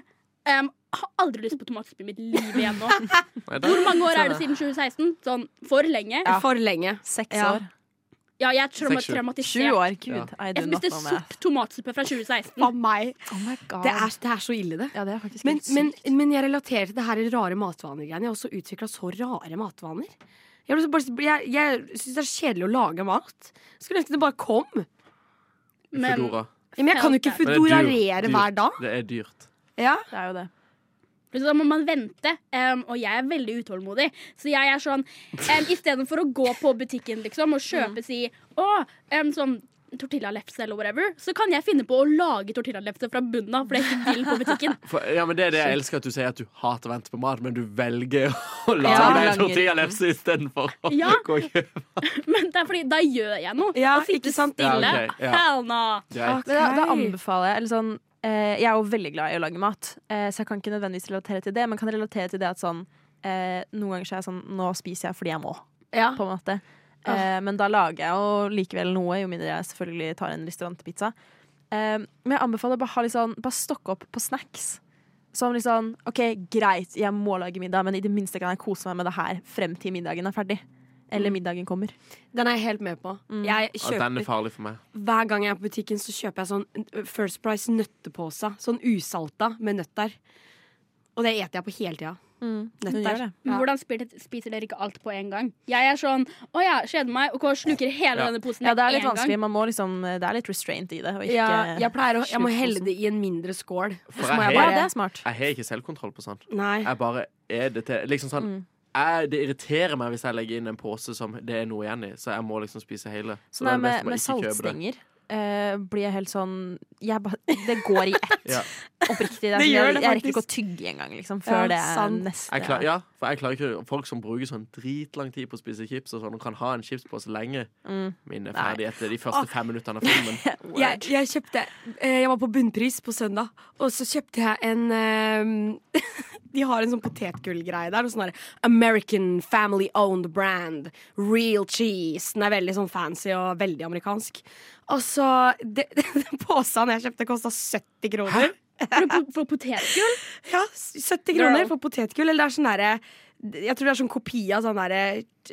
G: Um, har aldri lyst på tomatsuppe i mitt liv igjen
D: <laughs>
G: nå.
C: Nei, det-
G: Hvor mange år er det siden 2016? Sånn for lenge.
B: For lenge.
D: Seks
B: Ja.
D: år.
G: Ja, jeg er trauma
C: Seks, sju.
D: Sju
G: traumatisert.
D: år. Gud, I do
G: Jeg
D: not
G: spiste
D: know math.
G: sopp tomatsuppe fra 2016.
B: Av meg.
D: Oh my god.
B: Det er, det er så ille, det.
D: ja, det er faktisk
B: Men,
D: helt sykt.
B: men, men jeg relaterer til det her rare matvaner-greiene. Jeg har også utvikla så rare matvaner. Jeg, ble så bare- jeg, jeg syns det er kjedelig å lage mat. Skulle ønske det bare kom. Ja,
G: Men
C: Foodora.
B: Men jeg kan jo ikke
G: Men
C: det er dyrt.
B: fedorarere
C: Dyrt.
B: hver dag.
C: Det er dyrt.
B: Ja.
D: Det er jo det.
G: Så da må man vente, em, og jeg er veldig utålmodig. Så jeg er sånn um, Istedenfor å gå på butikken liksom, og kjøpe si Å, em, sånn tortillalefse eller whatever, så kan jeg finne på å lage tortillalefse fra bunnen av, for det er ikke vil på
D: <laughs>
G: butikken.
C: For, ja, men det er det jeg elsker at du sier at du hater å vente på mat, men du velger å <laughs> lage
D: Ja.
C: deg
D: Lager.
C: tortillalefse istedenfor å
G: Ja.
C: gå og kjøpe.
G: Men det er fordi da gjør jeg noe.
B: Ja,
G: å sitte
B: ikke sant?
G: stille.
C: Ja, ok, ja.
G: Hell no.
C: Greit.
D: Men da, da anbefaler jeg eller sånn, eh, Jeg er jo veldig glad i å lage mat, eh, så jeg kan ikke nødvendigvis relatere til det, men kan relatere til det at sånn eh, Noen ganger så er jeg sånn Nå spiser jeg fordi jeg må,
B: Ja.
D: på en måte.
B: Ah.
D: Eh, men da lager jeg jo likevel noe, jo mindre jeg selvfølgelig tar en restaurantpizza. Eh, men jeg anbefaler bare, ha litt sånn, bare stokke opp på snacks. Som litt sånn OK, greit, jeg må lage middag, men i det minste kan jeg kose meg med det her frem til middagen er ferdig. Eller
B: Mm.
D: middagen kommer.
B: Den er jeg helt med på.
D: Mm.
B: Jeg
C: Ja, den
B: kjøper
C: er farlig for meg.
B: Hver gang jeg er på butikken, så kjøper jeg sånn First Price nøttepose. Sånn usalta med nøtt der. Og det eter jeg på hele tida.
D: Hun
B: Nøtt
D: Mm. gjør
B: der.
D: det.
G: Men Hvordan spiser, spiser dere ikke alt på en gang? Jeg er sånn å ja, kjeder meg, og sluker hele
C: Ja.
G: denne posen
D: Ja, det er litt
G: en gang.
D: vanskelig. Man må liksom, det er litt restraint i det. Og ikke
B: Ja, jeg pleier å Jeg må
D: sluke
B: helle
D: posen.
B: det i en mindre skål.
C: For
B: Så må
C: jeg
B: jeg
D: Ja,
C: har-
D: det
B: bare
D: er smart.
C: Jeg har ikke selvkontroll på sånn.
B: Nei.
D: Mm.
C: Jeg bare er det til. Liksom sånn jeg, det irriterer meg hvis jeg legger inn en pose som det er noe igjen i, så jeg må liksom spise hele. Så
D: Sånn
C: det
D: der
C: er
D: med, med
C: derfor jeg ikke kjøper det.
D: saltstenger eh, blir jeg helt sånn jeg ba, Det går i ett.
C: <laughs> Ja.
D: Oppriktig. Det er
B: Det
D: sånn,
B: gjør
D: jeg,
B: det
D: jeg rekker ikke
B: faktisk.
D: å tygge engang, liksom,
B: Ja,
D: før det er
B: sant.
D: neste. Eh,
C: Jeg klar, ja, for jeg klarer ikke Folk som bruker sånn dritlang tid på å spise chips og sånn, og kan ha en chipspose lenge.
D: Mm.
C: Mine er
D: Nei.
C: ferdig etter de første fem minuttene av filmen.
D: <laughs>
B: Jeg, jeg kjøpte eh, Jeg var på bunnpris på søndag, og så kjøpte jeg en eh, <laughs> De har en sånn potetgullgreie der. Og sånn der American family owned brand. Real cheese. Den er veldig sånn fancy og veldig amerikansk. Og så det, <laughs> Den posen jeg kjøpte, kosta 70 kroner.
G: For, po- for potetgull?
B: Ja, s- 70 kroner
G: Girl.
B: for potetgull. Eller det er sånn derre Jeg tror det er sånn kopi av sånn derre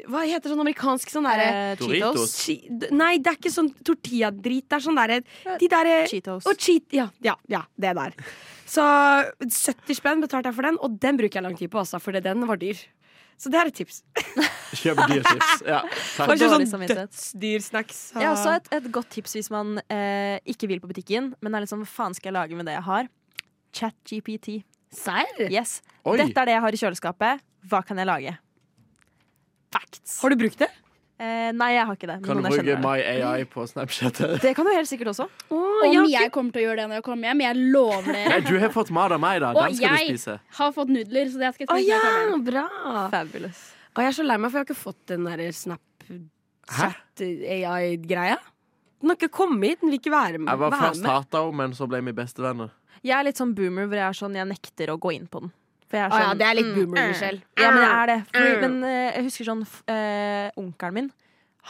B: Hva heter sånn amerikansk sånn derre
D: Eh,
C: Doritos.
D: Cheetos.
B: Chi- d- Nei, det er ikke sånn tortilladrit. Det er sånn derre De derre
D: Cheetos.
B: og cheat. Ja, ja, ja, det der. Så 70 spenn betalte jeg for den, og den bruker jeg lang tid på, altså, for den var dyr. Så det er et tips.
C: Kjøp dyre chips. Ja,
B: Og
C: takk.
B: kjøp
D: Dårlig
B: sånn
D: samvittighet.
B: dødsdyr snacks.
D: Jeg har også et, et godt tips hvis man eh, ikke vil på butikken, men er litt sånn hva faen skal jeg lage med det jeg har? ChatGPT.
B: Serr?
D: Yes.
C: Oi.
D: Dette er det jeg har i kjøleskapet. Hva kan jeg lage? Facts.
B: Har du brukt det?
D: Eh, nei, jeg har ikke det. men
C: Kan du
D: noen jeg
C: bruke
D: kjenner har det.
C: MyAI på Snapchat?
D: Det kan du helt sikkert også.
G: Om jeg kommer til å gjøre det når jeg kommer hjem? Jeg lover
C: Nei,
G: dere.
C: du har fått mat av meg, da.
G: Og
C: Den skal du
G: jeg
C: spise.
G: har fått nudler, så det skal jeg
B: Å
G: spise.
B: ja,
G: når jeg kommer hjem.
B: bra.
D: Fabulous.
B: Og jeg er så lei meg, for jeg har ikke fått den der
C: Hæ?
B: Snapchat-AI-greia. Den har ikke kommet, den vil ikke være med.
C: Jeg var
B: være
C: først
B: med.
C: hata henne, men så ble vi bestevenner.
D: Jeg er litt sånn boomer hvor jeg er sånn, jeg nekter å gå inn på den. For jeg er
B: Å ja,
D: sånn,
B: det er litt boomer, Michelle. Mm.
D: Ja, men jeg er det. Fordi, men eh, jeg husker sånn f- eh, onkelen min.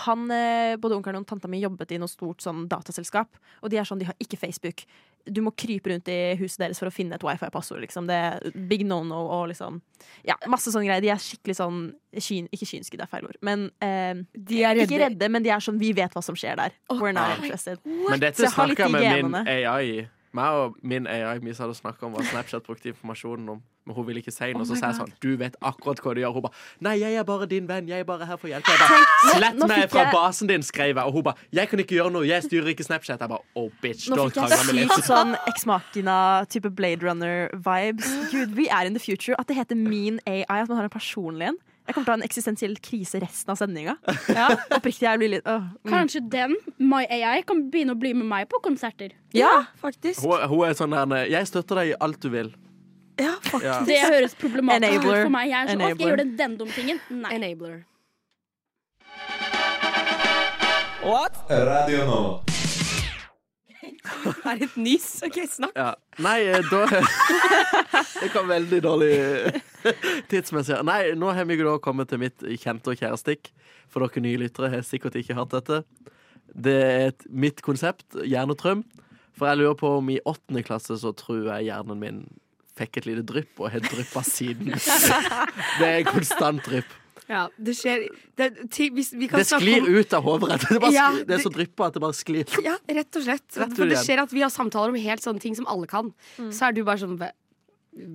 D: Han, eh, både onkelen og tanta mi jobbet i noe stort sånn dataselskap. Og de er sånn, de har ikke Facebook. Du må krype rundt i huset deres for å finne et wifi-passord. Liksom. Det er big no-no og liksom Ja, masse sånne greier. De er skikkelig sånn kyn, Ikke kynske, det er feil ord. Men eh,
B: De er
D: Ikke
B: redde.
D: redde, men de er sånn Vi vet hva som skjer der. We're not interested.
C: Men
D: Så
C: dette
D: jeg har litt
C: snakka
D: i
C: med min
D: genene.
C: AI. Meg og min AI vi hadde snakka om hva Snapchat brukte informasjonen om. Men hun ville ikke si noe.
D: Oh
C: så
D: my
C: sa jeg
D: God.
C: sånn Du vet akkurat hva du gjør. Hun ba Nei, jeg er bare din venn. Jeg er bare her for å hjelpe. Jeg ba, Slett
D: nå
C: meg
D: fikk
C: fra
D: jeg-
C: basen din, skrev jeg. Og hun ba Jeg kan ikke gjøre noe. Jeg styrer ikke Snapchat. Jeg ba Oh, bitch.
D: Nå
C: Don't
D: fikk
C: krangla
D: jeg
C: med litt.
D: sykt sånn eksmakina-type Blade Runner-vibes. Gud, we are in the future. At det heter Mean AI, at man har en personlig en. Jeg kommer til å ha en eksistensiell krise resten av sendinga. Ja, oppriktig, jeg blir litt åh. mm.
G: Kanskje den, My AI, kan begynne å bli med meg på konserter.
D: Ja!
B: Faktisk.
C: Hun, hun er sånn her Jeg støtter deg i alt du vil.
B: Ja, faktisk.
C: Ja.
G: Det høres problematisk ut
D: Enabler.
G: for meg. Jeg er sånn, «Å, skal jeg
D: Enabler.
G: gjøre det den dumme tingen? Nei.
B: Enabler.
I: Radio Nova.
B: Det <laughs> er et nys. OK, snakk.
C: Ja. Nei, eh, da
B: <laughs>
C: Det kom veldig dårlig eh, <laughs> tidsmessig. Nei, nå har vi jo da kommet til mitt kjente og kjære stikk. For dere nye lyttere har sikkert ikke hørt dette. Det er et, mitt konsept, hjernetrøm. For jeg lurer på om i åttende klasse så tror jeg hjernen min fikk et lite drypp, og har dryppa
B: <laughs>
C: siden. Det er konstant drypp.
B: Ja, det skjer det, ti, hvis, vi kan
C: Det
B: snakke
C: sklir
B: om-
C: ut av hodet rett. Det, bare
B: Ja,
C: sklir, det er så
B: det-
C: dryppa at det bare sklir.
B: Ja, rett og slett.
C: Rett
B: For det
C: igjen.
B: skjer at vi har samtaler om helt sånne ting som alle kan. Så er du bare sånn Hva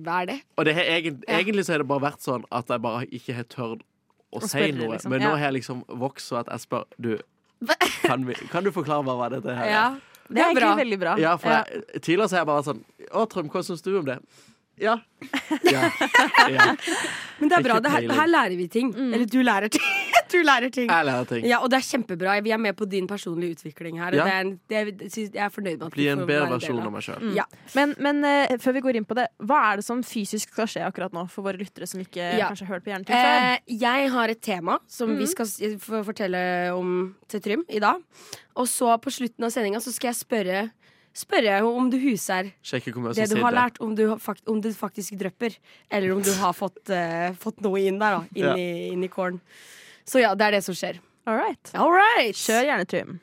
B: hva er det?
C: Og det har egent,
B: Ja.
C: egentlig så har det bare vært sånn at jeg bare ikke har tørt å si
D: spørre,
C: noe.
D: liksom.
C: Men nå
D: Ja.
C: har jeg liksom vokst så at jeg spør Du, kan, vi, kan du forklare meg hva dette her er?
B: Ja,
D: Det er egentlig veldig bra.
C: Ja, for jeg, tidligere så har jeg bare vært sånn Å, Trym, hva syns du om det? Ja. ja. ja.
B: Men det er
C: Ikke
B: bra. Det her,
C: peiling.
B: her lærer vi ting. Eller du lærer ting. <laughs> du lærer ting.
C: Jeg lærer ting.
B: Ja, Og det er kjempebra. Vi er med på din personlige utvikling her. og
C: Ja.
B: Det er, en- det, er- synes- jeg er fornøyd med at
C: Bli
B: vi
C: en
B: får
C: bedre
B: være del
C: versjon
B: av.
C: av meg sjøl.
B: Ja.
D: Men, men eh, før vi går inn på det, hva er det som fysisk skal skje akkurat nå? For våre lyttere som ikke
B: Ja.
D: kanskje har hørt på Hjernetur før.
B: Eh, jeg har et tema som vi skal s- få fortelle om til Trym i dag. Og så på slutten av sendinga så skal jeg spørre, spørre om du huser
C: Sjekke hvor mye
B: det
C: som
B: du har
C: sitter.
B: lært, om du, har fakt om det faktisk drypper. Eller om du har fått, eh, fått noe inn der, da. Inn,
C: Ja.
B: i, inn i kålen. Så ja, det er det som skjer.
D: All right.
B: All right!
D: Kjør Hjernetrym.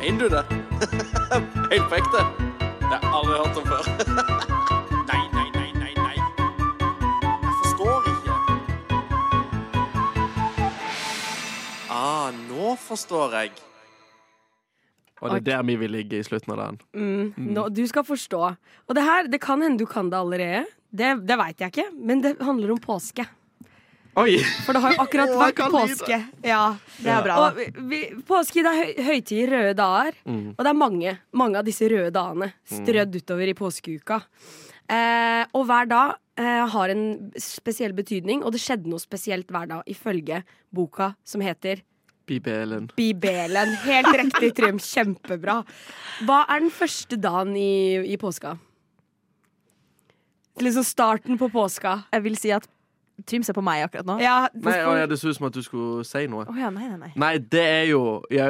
C: Mener du det? <laughs> Helt på ekte? Det har jeg aldri hørt om før. <laughs> nei, nei, nei, nei, nei. Jeg forstår ikke. Ah, nå forstår jeg. Og det er der vi vil ligge i slutten av dagen.
B: Mm, nå, du skal forstå. Og det her, det kan hende du kan det allerede. Det, det veit jeg ikke, men det handler om påske.
C: Oi!
B: For det har jo akkurat
C: Å, jeg
B: vært
C: kan
B: påske. Ja.
D: Det er bra,
B: Og
D: da.
B: vi, vi, påske det er høy, høytid i røde dager,
C: Mm.
B: og det er mange, mange av disse røde dagene strødd utover i påskeuka. Eh, og hver dag eh, har en spesiell betydning, og det skjedde noe spesielt hver dag, ifølge boka som heter
C: Bibelen.
B: Bibelen.
C: <laughs>
B: Helt riktig, Trym. Kjempebra. Hva er den første dagen i, i påska? Liksom starten på påska.
D: Jeg vil si at Trym ser på meg akkurat nå.
B: Ja,
C: Nei, å, ja, det så ut som at du skulle si noe.
D: Å ja, nei, nei, nei.
C: Nei, det er jo jau,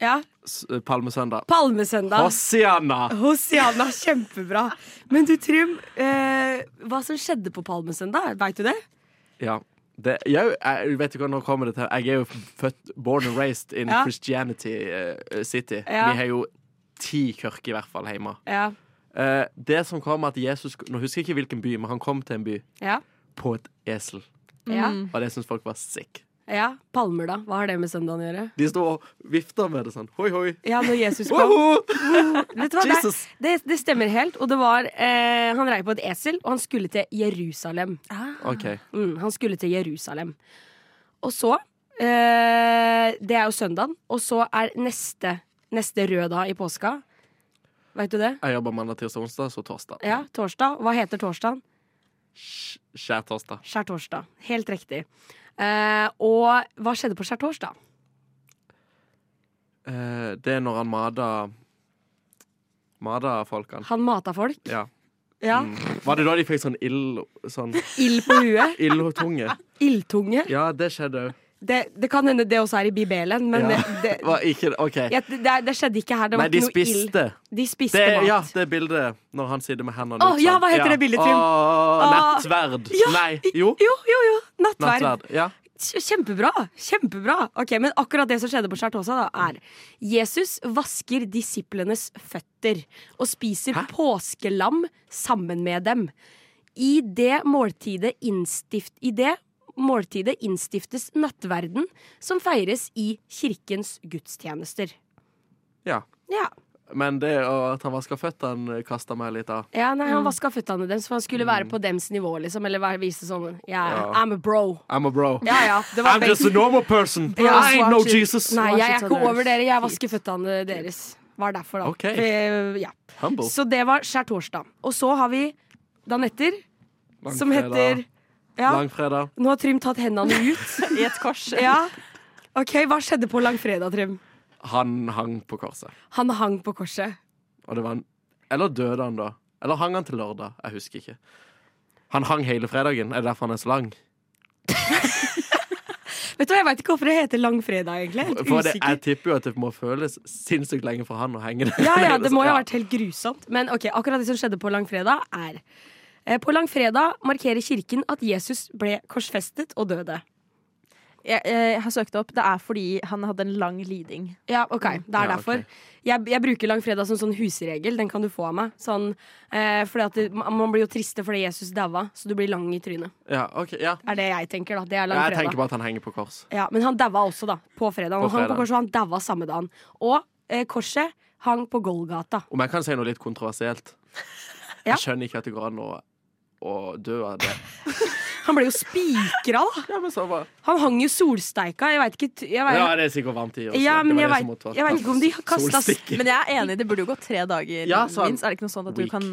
B: ja.
C: s- Palmesøndag.
B: Palmesøndag.
C: Hosianna!
B: Hosianna, kjempebra. Men du, Trym, eh, hva som skjedde på Palmesøndag? Veit du det?
C: Ja. Det, jau, jeg vet ikke hva- nå kommer det til Jeg er jo født, born and raised in
B: Ja.
C: Christianity eh, City.
B: Ja.
C: Vi har jo ti kirker i hvert fall hjemme.
B: Ja.
C: Eh, det som kom at Jesus Nå husker jeg ikke hvilken by, men han kom til en by
B: Ja.
C: på et esel.
B: ja.
D: Mm.
C: Og det syns folk var sick.
B: Palmer, da. Hva har det med søndagen å gjøre?
C: De sto og vifta med det sånn. Hoi, hoi.
B: Ja, når Jesus kom.
C: Woho!
B: Vet du hva, det,
C: Jesus!
B: det, det stemmer helt. Og det var eh, Han rei på et esel, og han skulle til Jerusalem.
C: OK.
B: Mm, han skulle til Jerusalem. Og så eh, Det er jo søndagen. Og så er neste, neste rød dag i påska. Veit du det?
C: Jeg jobber mandag, tirsdag, onsdag, så torsdag.
B: Ja, torsdag. Hva heter torsdagen?
C: Sk- Skjærtorsdag.
B: Skjærtorsdag. Helt riktig. Eh, og hva skjedde på skjærtorsdag?
C: Eh, det er når han mada Mada folkene.
B: Han mata folk.
C: Ja.
B: Ja.
C: Mm. Var det da de fikk sånn ild Sånn
B: <laughs> Ild på huet.
C: ildtunge?
B: Ildtunge.
C: Ja, det skjedde òg.
B: Det, det kan hende det også er i Bibelen, men
C: Ja.
B: det, det,
C: Var ikke det- OK.
B: ja, det, det skjedde ikke her. Det
C: Nei,
B: var
C: de
B: ikke noe ild.
C: spiste.
B: De spiste
C: Det,
B: mat.
C: ja, det bildet når han sitter med hendene
B: Å,
C: ut
B: ja,
C: sånn.
B: hva heter det bildet, Trym?
C: Å,
B: Å.
C: Nettverd.
B: Ja,
C: Nei, jo.
B: Jo, jo, jo. Nattverd.
C: Nattverd. Ja.
B: Kj- Kjempebra. kjempebra Ok, Men akkurat det som skjedde på Chartosa, da, er Jesus vasker disiplenes føtter og spiser
C: Hæ?
B: påskelam sammen med dem. I det måltidet, innstift, I det måltidet innstiftes nattverden, som feires i kirkens gudstjenester.
C: ja.
B: Ja.
C: Men det å- at han vasker føttene, kasta meg litt av.
B: ja nei, han vaska føttene deres, for han skulle være på dems nivå, liksom. Eller være- vise sånn yeah,
C: Mm. Ja.
B: I'm a bro.
C: I'm a bro.
B: Ja, ja, det var
C: I'm just a
B: basic.
C: normal person.
B: Bro,
C: I ain't no
B: watch it.
C: Jesus.
B: Nei, jeg er
D: Washington
B: ikke over
D: Irons.
B: dere. Jeg vasker føttene deres. Var derfor, da.
C: Ok. Oh.
B: Eh, ja.
C: Humble.
B: Så det var skjærtorsdag. Og så har vi dagen etter, som heter ja,
C: Langfredag.
B: Nå har Trym tatt hendene ut.
C: <laughs>
D: I et kors.
B: ja. OK, hva skjedde på langfredag, Trym?
C: Han hang på korset.
B: Han hang på korset.
C: Og det var en Eller døde han da? Eller hang han til lørdag? Jeg husker ikke. Han hang hele fredagen. Er det derfor han er så lang?
B: Vet du hva, Jeg veit ikke hvorfor det heter langfredag, egentlig. Helt
C: For det,
B: usikker.
C: jeg tipper jo at det må føles sinnssykt lenge for han å henge der.
B: Ja, ja, det må jo ha vært helt grusomt. Men ok, akkurat det som skjedde på langfredag, er eh, På langfredag markerer kirken at Jesus ble korsfestet og døde.
D: Jeg, eh, jeg har søkt opp. Det er fordi han hadde en lang liding.
B: Ja, ok, det er
C: Ja, ok.
B: derfor jeg, jeg bruker langfredag som sånn husregel Den kan du få av meg sånn, eh, fordi at det, man- Man blir jo triste fordi Jesus daua Så du blir lang i trynet
C: Ja, ok, ja.
B: Er det jeg tenker da, det er
C: Jeg tenker
B: langfredag
C: bare at han henger på kors.
B: ja, Men han daua også da, på fredag
C: På
B: Han hang på
C: fredag.
B: korset, og han daua samme dagen Og eh, korset hang på Golgata
C: Om jeg kan si noe
B: <laughs>
C: litt kontroversielt.
B: Ja.
C: Jeg skjønner ikke at det går an å, å dø av det.
B: Han ble jo spikra da
C: Ja, men så bare
B: Han hang jo solsteika Jeg vet ikke t- jeg vet,
C: Ja, det er sikkert varmt i også.
B: Ja, men
C: det
B: jeg
C: var det
B: vet-
C: som måtte være-
B: jeg vet ikke om de har kastet-
C: Solstikke.
D: Men jeg er enig, det burde jo gå tre dager
C: Ja, sånn.
D: minst. Er det ikke noe sånn at du
C: Week.
D: kan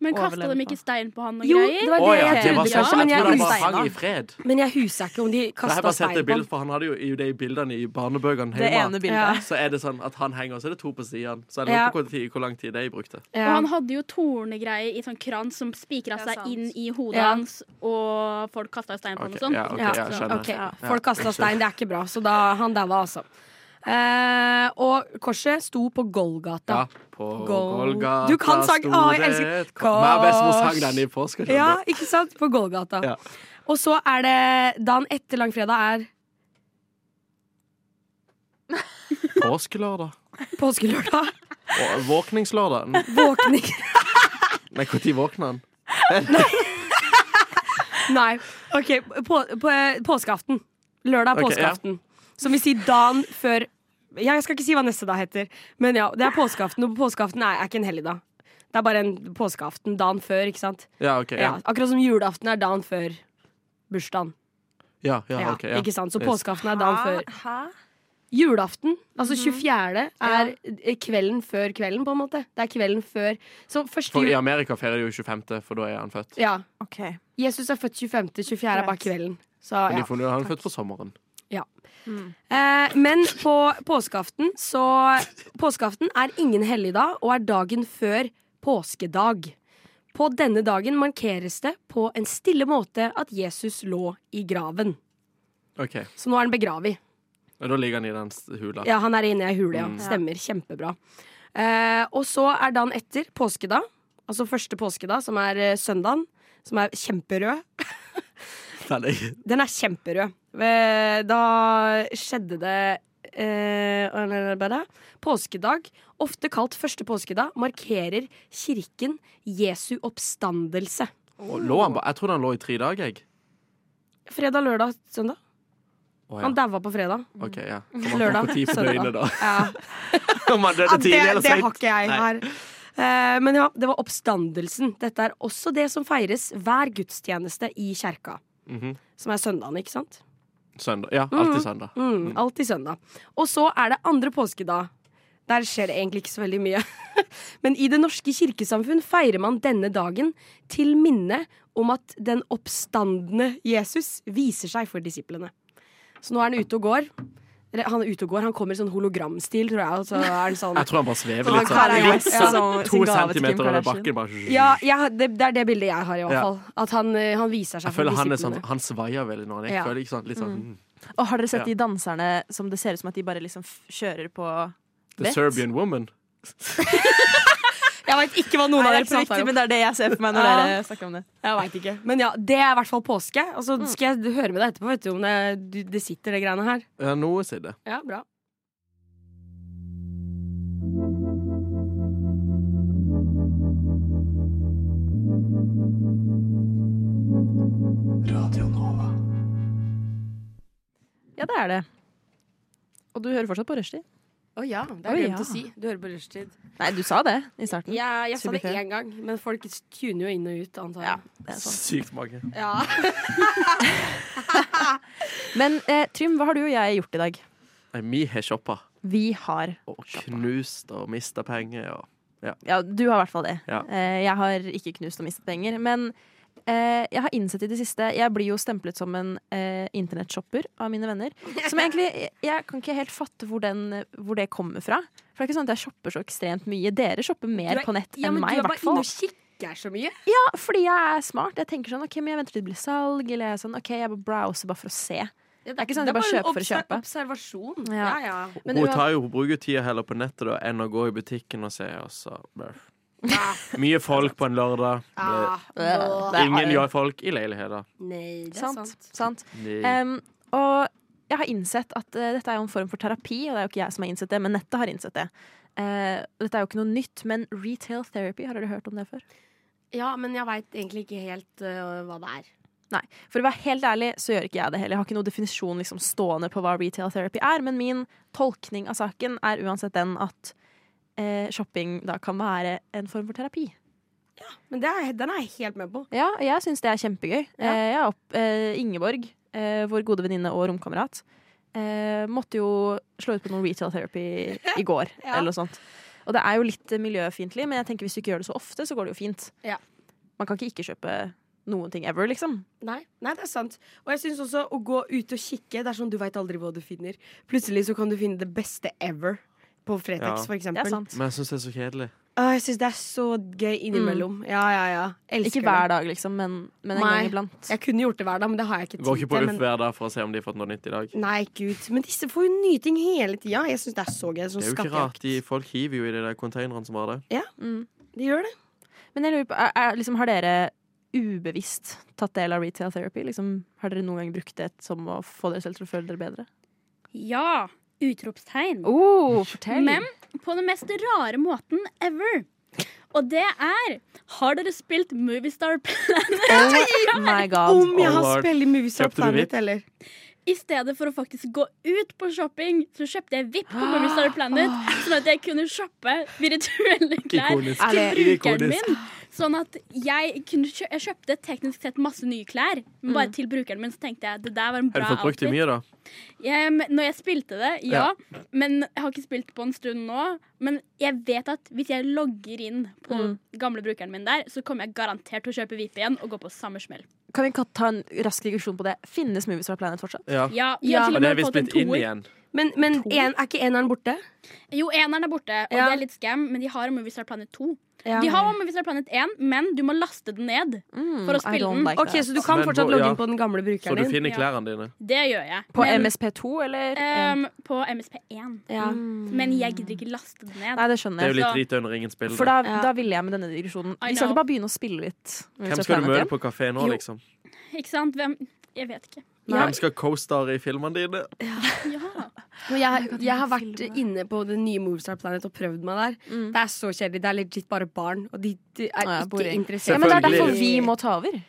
G: Men kasta
D: Overlevde
G: de
D: han.
G: ikke stein på han og
B: Jo, det
G: greier?
B: var
C: Å
B: det
C: ja,
B: jeg
C: det var
B: trodde
C: sånn.
B: kanskje Men
C: Jeg
B: jeg
C: trodde han
B: husker,
C: bare
D: steina.
C: hang i fred.
B: men jeg husker ikke om de
C: Jeg har
B: kastet
C: bare
B: stein
C: sett det
B: på han
C: bildet, for han hadde jo i de bildene i barnebøkene
D: Det
C: hjemme.
D: ene bildet.
C: Så er det sånn at han henger, og så er det to på siden. Så jeg
B: Ja.
C: lurer på hvor, tid, hvor lang tid de brukte.
B: Ja.
G: Og han hadde jo tornegreier i sånn krans som
D: Ja,
G: spikra seg
D: sant.
G: inn i hodet
B: Ja.
G: hans, og folk kasta stein på han
C: Ok,
G: og sånn.
C: ja, ok,
B: Ja,
C: jeg skjønner.
B: ok. Folk kasta stein, det er ikke bra. Så da, han daua, altså. Eh, og korset sto på
C: Ja,
B: Golgata.
C: på
B: Gol-
C: Golgata
B: Du kan sang-
C: sto
B: Å, jeg
C: det
B: elsker-
C: et kors. Men bestemor sang den i
B: Ja,
C: påska.
B: ikke sant? På Golgata.
C: Ja.
B: Og så er det dagen etter langfredag er
C: Påskelørdag.
B: påskelørdag.
C: Og våkningslørdag.
B: Våkning <laughs>
C: Nei, når våkner han?
B: Nei. OK, på, på, eh, påskeaften. Lørdag
C: Ok, ja.
B: påskeaften. Som vil si dagen før ja, Jeg skal ikke si hva neste dag heter, men ja, det er påskeaften. Og påskeaften er, er ikke en helligdag. Det er bare en påskeaften dagen før, ikke sant?
C: Ja, ok.
B: Ja,
C: Ja.
B: akkurat som julaften er dagen før bursdagen.
C: Ja, ja,
B: Ja,
C: ok, ja.
B: Ikke sant? Så
C: Yes.
B: påskeaften er
D: Ah.
B: dagen før.
D: Hæ?
B: Julaften, altså 24., er eh, kvelden før kvelden, på en måte. Det er kvelden før. Så første
C: For I
B: jul...
C: Amerika feirer de jo 25., for da er han født.
B: Ja.
D: OK.
B: Jesus er født 25., 24 er bare
D: Korrekt.
B: kvelden. Så,
C: Men
B: ja.
C: de funnet, han er født på sommeren.
B: Eh, men på påskeaften så Påskeaften er ingen helligdag og er dagen før påskedag. På denne dagen markeres det på en stille måte at Jesus lå i graven.
C: Ok,
B: Så nå er han begravet.
C: og Da ligger han i den s- hula.
B: Ja, han er inne i hula, ja.
C: Mm.
B: Stemmer. Kjempebra. Eh, og så er dagen etter påskedag, altså første påskedag, som er eh, søndagen, som er kjemperød.
C: Den er-
B: Den er kjemperød. Eh, Da skjedde det eh, og nå er det bare- Påskedag, ofte kalt første påskedag, markerer kirken Jesu oppstandelse.
C: Og lå han ba- Jeg trodde han lå i tre dager. jeg.
B: Fredag, lørdag, søndag.
C: Å, ja.
B: Han daua på fredag.
C: Ok, ja.
B: Lørdag,
C: Hvor tid på
B: søndag.
C: døgnet, da?
B: Ja.
C: <laughs> Om han døde
B: Ja,
C: tidlig
B: det,
C: eller
B: det
C: seint?
B: har ikke jeg
C: Nei.
B: her. Eh, men ja, det var oppstandelsen. Dette er også det som feires hver gudstjeneste i kjerka.
C: Mhm.
B: Som er søndagen, ikke sant?
C: Søndag. Ja, alltid
B: Mhm.
C: søndag.
B: Mm, alltid søndag. Og så er det andre påskedag. Der skjer det egentlig ikke så veldig mye. <laughs> Men i det norske kirkesamfunn feirer man denne dagen til minne om at den oppstandende Jesus viser seg for disiplene. Så nå er han ute og går. Eller, Han er ute og går, han kommer i sånn hologramstil, tror jeg. Og så er han sånn
C: Jeg tror han bare svever
B: Han
C: litt
B: karer
C: sånn.
B: er-
C: Juksa
D: som-
C: to
D: sin gave til Kim
C: centimeter over
D: Kardashian.
C: bakken. Bare.
B: Ja, jeg har- det, det er det bildet jeg har, i hvert
C: Ja.
B: fall. At han, eh, han viser seg
C: Jeg
B: for
C: føler han,
B: disiplene.
C: er sånn, han svaier veldig når han er
B: Ja.
C: ekkel. Ikke sant? Litt sånn mm.
D: Og har dere sett
C: Ja.
D: de danserne som det ser ut som at de bare liksom f kjører på
C: The
D: Vett.
C: Serbian woman. sånn.
B: Jeg veit ikke hva noen av
D: Nei, det er
B: dere
D: ikke så
B: prater
D: viktig,
B: om.
D: men det er det jeg ser for meg når
B: Ja.
D: dere snakker om det.
B: Jeg vet ikke. Men ja, det er i hvert fall påske. Og
D: Mm.
B: så skal jeg høre med deg etterpå vet du, om det, du, det sitter, det greiene her.
C: Ja, noe sier det.
B: Ja, bra.
D: Ja, det er det. Og du hører fortsatt på rushtid?
B: Å ja, det
D: Oi,
B: har jeg glemt
D: ja. Mm.
B: å si. Du hører på rushtid.
D: Nei, du sa det i starten.
B: Ja, jeg sa det
D: Subjektiv.
B: én gang, men folk tuner jo inn og ut, antar
D: Ja,
B: jeg.
D: det er sånn. sant.
C: Sykt mange.
B: Ja.
D: Men eh, Trym, hva har du og jeg gjort i dag?
C: Nei, vi har shoppa
D: Vi har
C: og knust og mista penger og
D: Ja, du har i hvert fall det.
C: Ja.
D: Eh, jeg har ikke knust og mistet penger. Men eh, jeg har innsett i det siste Jeg blir jo stemplet som en eh, internettshopper av mine venner.
B: <laughs>
D: Som egentlig jeg- Jeg kan ikke helt fatte hvor, den, hvor det kommer fra. For det er ikke sånn at jeg shopper så ekstremt mye. Dere shopper mer
B: Du er-
D: på nett
B: ja,
D: enn
B: men
D: meg.
B: du
D: i
B: er
D: hvert
B: bare inne
D: fall.
B: og kikker så mye.
D: Ja, fordi jeg er smart. Jeg tenker sånn, ok, men jeg venter til det blir salg. Eller jeg er sånn, ok, jeg bare browser bare for å se.
B: Ja,
D: Det er ikke sånn at
B: det
D: du bare
B: en
D: kjøper for å
B: obser-
D: kjøpe.
B: Observasjon.
D: Ja.
B: Ja, ja.
D: Men
C: hun,
D: uan-
C: tar jo, hun bruker jo tida heller på nettet da, enn å gå i butikken og se. Og så. brr.
D: <laughs>
C: Mye folk på en lørdag.
B: Ah, blå.
D: Det er-
C: Ingen gjør folk i leiligheter.
B: Nei, det er
D: Sant,
B: sant.
D: sant.
C: Nei.
D: Em, og jeg har innsett at eh, dette er jo en form for terapi, og det er jo ikke jeg som har innsett det, men nettet har innsett det. Eh, og dette er jo ikke noe nytt, men retail therapy, har dere hørt om det før?
B: Ja, men jeg veit egentlig ikke helt øh, hva det er.
D: Nei. For å være helt ærlig så gjør ikke jeg det heller. Jeg har ikke noen definisjon liksom, stående på hva retail therapy er, men min tolkning av saken er uansett den at eh, shopping da kan være en form for terapi.
B: Men det er, den er jeg helt med på.
D: Ja, og jeg syns det er kjempegøy.
B: Ja.
D: Eh, jeg er opp, eh, Ingeborg, eh, vår gode venninne og romkamerat, eh, måtte jo slå ut på noe retail therapy i går.
B: Ja.
D: eller noe sånt. Og det er jo litt eh, miljøfiendtlig, men jeg tenker hvis du ikke gjør det så ofte, så går det jo fint.
B: Ja.
D: Man kan ikke ikke kjøpe noen ting ever, liksom.
B: Nei, nei, det er sant. Og jeg syns også å gå ut og kikke, det er sånn du veit aldri hva du finner. Plutselig så kan du finne det beste ever. På Fretex,
C: Ja.
B: for
D: Det er
B: eksempel.
D: sant.
C: Men jeg syns det er så kjedelig.
B: Å, jeg syns det er så gøy innimellom. Ja, ja, ja. Elsker
D: Ikke
B: det.
D: hver dag, liksom, men, men en
B: Nei.
D: gang iblant.
B: Jeg kunne gjort det hver dag, men det har jeg ikke tid
C: Går ikke på
B: til.
C: UF
B: Men...
C: hver dag for å se om de har fått noe nytt i dag.
B: Nei, gud. Men disse får jo nye ting hele tida. Jeg syns det er så gøy. Sånn
C: Det er jo ikke
B: skattejakt.
C: rart. De, folk hiver jo i de der containerne som var der.
D: Mm.
B: De gjør det.
D: Men jeg lurer på, er, er, liksom, har dere ubevisst tatt del av retail therapy? Liksom, har dere noen gang brukt det som å få dere selv til å føle dere bedre?
G: Ja! Utropstegn.
D: Oh, fortell!
G: Men på den mest rare måten ever. Og det er Har dere spilt Moviestar Planet?
D: oh my god.
B: Om jeg
C: Oh,
B: har
C: Lord.
B: spilt Movies
C: Kjøpte
B: of
C: du
B: Planet,
C: Vip?
B: eller?
G: I stedet for å faktisk gå ut på shopping, så kjøpte jeg VIP på Moviestar Planet. Sånn at jeg kunne shoppe virtuelle klær
C: Ikonisk.
G: til
D: Er
G: brukeren
C: Ikonisk.
G: min. Sånn at jeg, kunne kjø jeg kjøpte teknisk sett masse nye klær, men bare til brukeren min. Så tenkte jeg det der var en
C: Har
G: bra
C: du fått brukt det
G: outfit.
C: mye, da?
G: Em, når jeg spilte det, ja. Men jeg har ikke spilt på en stund nå. Men jeg vet at hvis jeg logger inn på gamle brukeren min der, så kommer jeg garantert til å kjøpe VIP igjen og gå på samme smell.
D: Kan vi ta en rask digresjon på det? Finnes Movies for Planet fortsatt?
C: Ja.
G: Ja, vi
B: Ja.
G: har
C: Og
G: til og
C: det er
G: med
C: visst
G: fått en
C: blitt inn
G: toer.
C: igjen.
B: Men, men en, er ikke eneren borte?
G: Jo, eneren er borte, og
B: Ja.
G: det er litt scam, men de har Movistar Planet 2.
B: Ja.
G: De har Movistar Planet 1, men du må laste den ned for å
D: Mm, I
G: spille
D: don't
G: den.
D: like
B: Ok,
D: that.
B: Så du kan
C: Men
B: fortsatt
C: hvor-
B: logge
C: ja.
B: inn på den gamle
C: Så du
B: brukeren din?
C: finner
G: Ja.
C: klærne dine.
G: Det gjør jeg.
D: På
G: Men,
D: MSP2, eller?
G: ehm, på MSP1.
B: Ja.
G: Men jeg gidder ikke laste den ned.
D: Nei,
C: Det
D: det
C: er
D: skjønner
C: jo
D: jeg.
G: Så-
C: litt drit under ingen spill.
D: For da,
B: Ja.
D: da ville jeg med denne digresjonen
G: I
D: Vi skal ikke
G: know.
D: bare begynne å spille litt. Movies
C: Hvem
D: for
C: skal du
D: Planet
C: møte på
D: igjen?
C: kafé nå,
D: Jo.
C: liksom?
G: Ikke sant? Hvem? Jeg vet ikke.
B: Ja.
C: Hvem skal co-starre i filmene dine?
G: Ja.
D: <laughs>
B: Men Jeg, jeg har vært inne på det nye Movistar Planet og prøvd meg der.
D: Mm.
B: Det er så kjedelig. Det er legit bare barn, og de, de er
D: ja,
B: ikke
D: boring.
B: interessert.
D: Ja, men det er derfor
C: Selvfølgelig.
D: vi må ta over.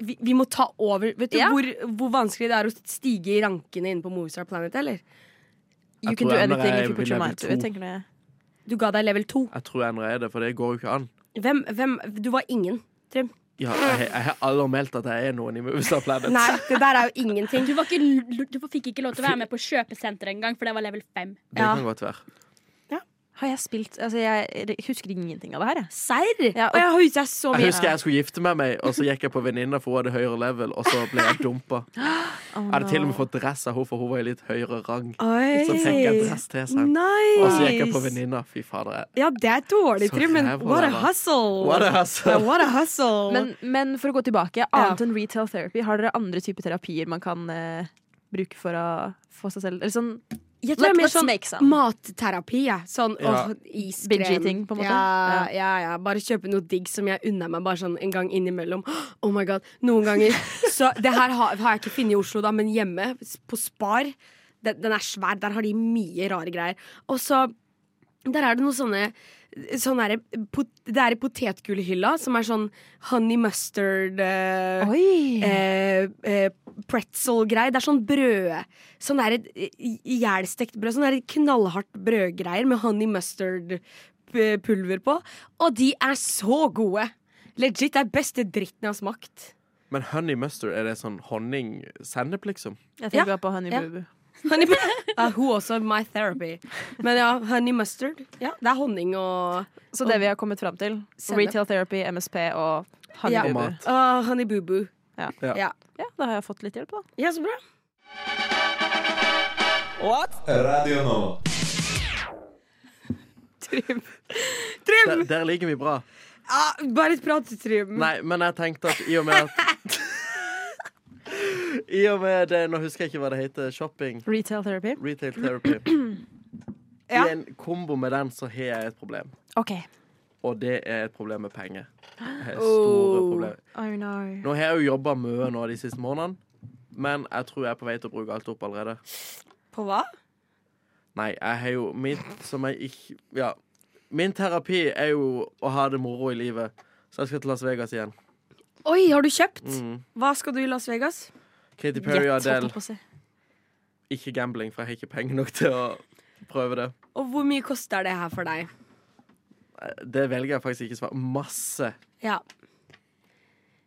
B: vi, vi må ta over Vet du
D: Ja.
B: hvor, hvor vanskelig det er å stige i rankene inne på Movistar Planet, eller?
D: You
C: Jeg
D: can
C: tror
D: do
C: jeg
D: anything
C: ender
D: if you put
C: i
D: your
C: level
D: mind to it.
C: to.
D: tenker jeg.
B: Du ga deg level 2.
C: Jeg tror jeg ender er det, for det går jo ikke an.
B: Hvem, hvem Du var ingen.
C: Ja, jeg, jeg har aldri meldt at jeg er noen i Movistar Planet.
B: Nei, det der er jo ingenting.
G: Du, var ikke, l- du fikk ikke lov til å være med på kjøpesenteret engang, for det var level 5.
C: Det
B: Ja.
C: kan godt være.
D: Har jeg spilt altså Jeg husker ingenting av det her. jeg.
B: Serr?
D: <laughs> Ja, og-
B: og jeg har huska så
C: Jeg
B: mye.
C: husker jeg skulle gifte meg, med meg og så gikk jeg på venninna, for hun hadde høyere level, og så ble jeg dumpa. Jeg hadde til og med fått dress av henne, for hun var i litt høyere rang. Så fikk jeg
B: Oi.
C: dress til seg.
B: Nice.
C: Og så gikk jeg på venninna. Fy fader. jeg-
B: Ja, det er dårlig,
C: Så
B: Trym, men
C: ræva
B: what a
C: det var.
B: hustle!
C: What a
B: Ja,
C: hustle.
B: what a hustle.
D: Men, men for å gå tilbake, annet enn retail therapy, har dere andre typer terapier man kan eh, bruke for å få seg selv Eller sånn
B: jeg tror det er mer
D: Let's
B: sånn
D: make some.
B: matterapi. Ja. Sånn
C: Ja.
B: åh, iskrem.
D: Binge-eating, på en måte.
B: Ja, ja, ja. Bare kjøpe noe digg som jeg unner meg bare sånn en gang innimellom. <gasps> Oh my god, Noen
D: <laughs>
B: ganger Så det her har, har jeg ikke funnet i Oslo, da, men hjemme, på Spar. Den, den er svær. Der har de mye rare greier. Og så der er det noen sånne sånn derre pot, Det er i potetgullhylla, som er sånn honey mustard eh,
D: Oi!
B: eh, eh, pretzel-greie. Det er sånn brød Sånn der eh, ihjelstekt brød. Sånn der knallhardt brødgreier med honey mustard-pulver på. Og de er så gode! Legit, det er beste dritten jeg har smakt.
C: Men honey mustard, er det sånn honning-sennep, liksom?
D: Jeg
B: ja.
D: tenker bare på Honey
B: Ja.
D: Boo Boo.
B: Honey ja, hun også, my therapy. Men ja, honey mustard. Ja, det er honning og
D: Så det vi har kommet fram til,
B: Sennep.
D: retail therapy, MSP og Honey
B: Ja.
D: Boo Boo.
C: Mat.
B: Å, honey boo-boo.
D: Ja.
C: Ja.
B: Ja.
D: Ja, da har jeg fått litt hjelp, da.
B: ja, så bra.
I: Radio Nova.
B: Trym.
C: Der,
B: Trym!
C: der ligger vi bra.
B: Ja, Ah, bare et prat, Trym.
C: Nei, men jeg tenkte at i og med at I og med det Nå husker jeg ikke hva det heter. Shopping.
D: Retail therapy.
C: Retail therapy.
B: <clears throat> Ja.
C: I en kombo med den så har jeg et problem.
D: OK.
C: Og det er et problem med penger. Jeg har Store
B: Oh.
C: problemer.
D: Oh no.
C: Nå har jeg jo jobba mye nå de siste månedene, men jeg tror jeg er på vei til å bruke alt opp allerede.
B: På hva?
C: Nei, jeg har jo mitt som jeg ikke Ja. Min terapi er jo å ha det moro i livet, så jeg skal til Las Vegas igjen.
B: Oi, har du kjøpt?
C: Mm.
B: Hva skal du i Las Vegas?
C: Katy Perry og
D: Gjett, holdt jeg
C: Adele.
D: på å si.
C: Ikke gambling, for jeg har ikke penger nok til å prøve det.
B: Og hvor mye koster det her for deg?
C: Det velger jeg faktisk ikke å svare. Masse.
B: Ja.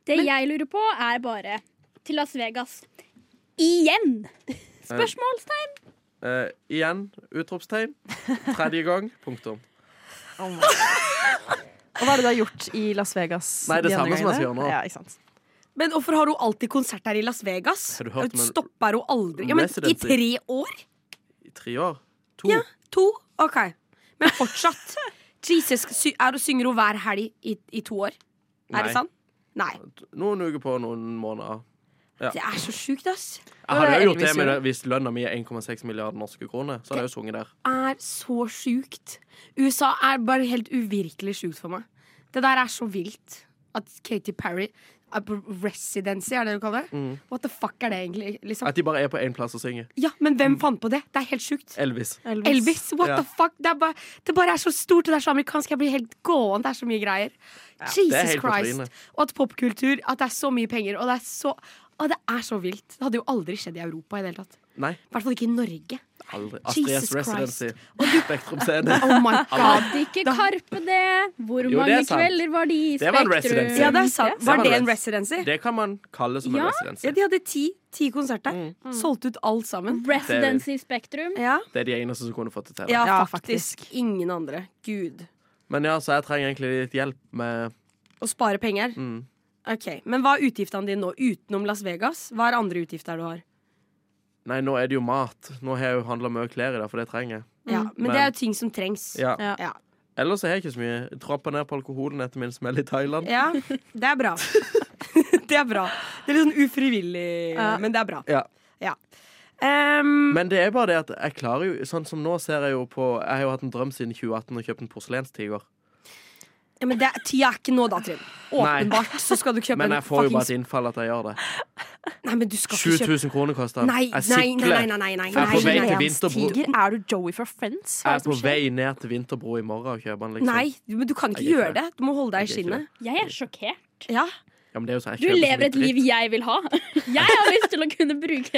G: Det jeg lurer på, er bare til Las Vegas. Igjen! Spørsmålstegn.
C: Eh, igjen utropstegn. Tredje gang. Punktum.
D: Og hva er det du har gjort i Las Vegas?
C: Nei, det
D: de
C: samme
D: andre
C: som jeg
D: gangene?
C: sier nå.
D: Ja, ikke sant.
B: Men hvorfor har hun alltid konsert her i Las Vegas?
C: Har du hørt om en-
B: Stopper hun aldri? Ja, men I
C: Residency?
B: tre år?
C: I tre år. To.
B: Ja. To? OK. Men
D: <laughs>
B: fortsatt. Jesus, sy er hun synger hun hver helg i, i to år? Er
C: Nei.
B: det sant? Nei.
C: Noen uker på noen måneder. Ja.
B: Det er så sjukt, ass.
C: Jeg hadde jo gjort
D: Elvis
C: det med
D: gjorde.
C: det hvis lønna mi er 1,6 milliarder norske kroner. Så hadde jeg jo sunget der.
B: Er så sjukt. USA er bare helt uvirkelig sjukt for meg. Det der er så vilt. At Katy Perry er på residency, er det du kaller det? What the fuck er det egentlig? Liksom?
C: At de bare er på én plass og synger.
B: Ja, men hvem fant på det? Det er helt sjukt.
C: Elvis.
B: Elvis, what
C: Ja.
B: the fuck? Det, er bare, det bare er så stort, og det er så amerikansk. Jeg blir helt gåen. Det er så mye greier.
C: det er
B: Jesus
C: helt på
B: Christ.
C: trynet.
B: Og at popkultur At det er så mye penger, og det er så Å, det er så vilt. Det hadde jo aldri skjedd i Europa i det hele tatt.
C: Nei,
B: I hvert fall ikke i Norge.
C: aldri. Astrid S.
B: Jesus
C: Residency. Spektrum
B: <laughs>
C: Scene.
B: Oh my god.
G: Hadde ikke Karpe det? Hvor
C: Jo, det er
G: mange
C: sant.
G: kvelder var de i
C: Det var en
G: Spektrum?
C: residency.
B: Ja, det er sant. Var
C: Det
B: det
C: var
B: en
C: det.
B: residency?
C: Det kan man kalle som en
G: Ja.
C: residency.
B: Ja, de hadde ti, ti konserter.
C: Mm.
B: Solgt ut alt sammen.
G: Residency Spektrum.
B: Mm. Ja,
C: Det er de eneste som kunne fått det til.
B: ja,
D: Ja,
B: faktisk. Ingen andre. Gud.
C: Men ja, så jeg trenger egentlig litt hjelp med
B: Å spare penger?
C: Mm.
B: Ok, Men hva er utgiftene dine nå, utenom Las Vegas? Hva er andre utgifter du har?
C: Nei, nå er det jo mat. Nå har jeg jo handla mye klær i dag, for det trenger jeg.
B: Ja, men,
C: Men-
B: det er jo ting som trengs.
C: Ja.
D: Ja.
B: Ja.
C: Ellers har jeg ikke så mye. Jeg Trampa ned på alkoholen etter min smell i Thailand.
B: Ja, det er
C: <laughs>
B: bra. <laughs> det er bra. Det er litt sånn ufrivillig,
D: Ja.
B: men det er bra.
C: Ja.
B: Ja. Ehm,
C: Men det er bare det at jeg klarer jo Sånn som nå ser jeg jo på Jeg har jo hatt en drøm siden 2018 og kjøpt en porselenstiger.
B: ja, men det er, tida er ikke nå, da, Trym.
C: Nei.
B: Åpenbart så skal du kjøpe
C: Men
B: en
C: jeg får jo bare
B: fuckings-
C: et innfall at jeg gjør det.
B: Nei, men du skal
C: 20
B: ikke kjøpe
C: 000 kroner koster den.
B: Nei,
C: Jeg
B: nei, nei, nei,
C: sikler.
B: nei, nei, nei,
C: For jeg er på vei til
B: nei,
C: Vinterbro.
D: Tiger, er du Joey fra Friends?
C: Jeg
D: Hva er
C: er
D: det
C: på
D: som skjer?
C: vei ned til Vinterbro i morgen og kjøper den, liksom.
B: nei, men du kan ikke
C: Jeg gjør
B: gjøre
C: ikke
B: det. Du må holde deg i
C: Jeg gjør ikke
B: skinnet.
G: Jeg er sjokkert.
B: Ja.
C: Ja, men det er jo sånn, jeg
G: Du
C: kjøper så
G: lever
C: mye
G: et liv
C: dritt.
G: jeg vil ha. <laughs> Jeg har lyst til å kunne bruke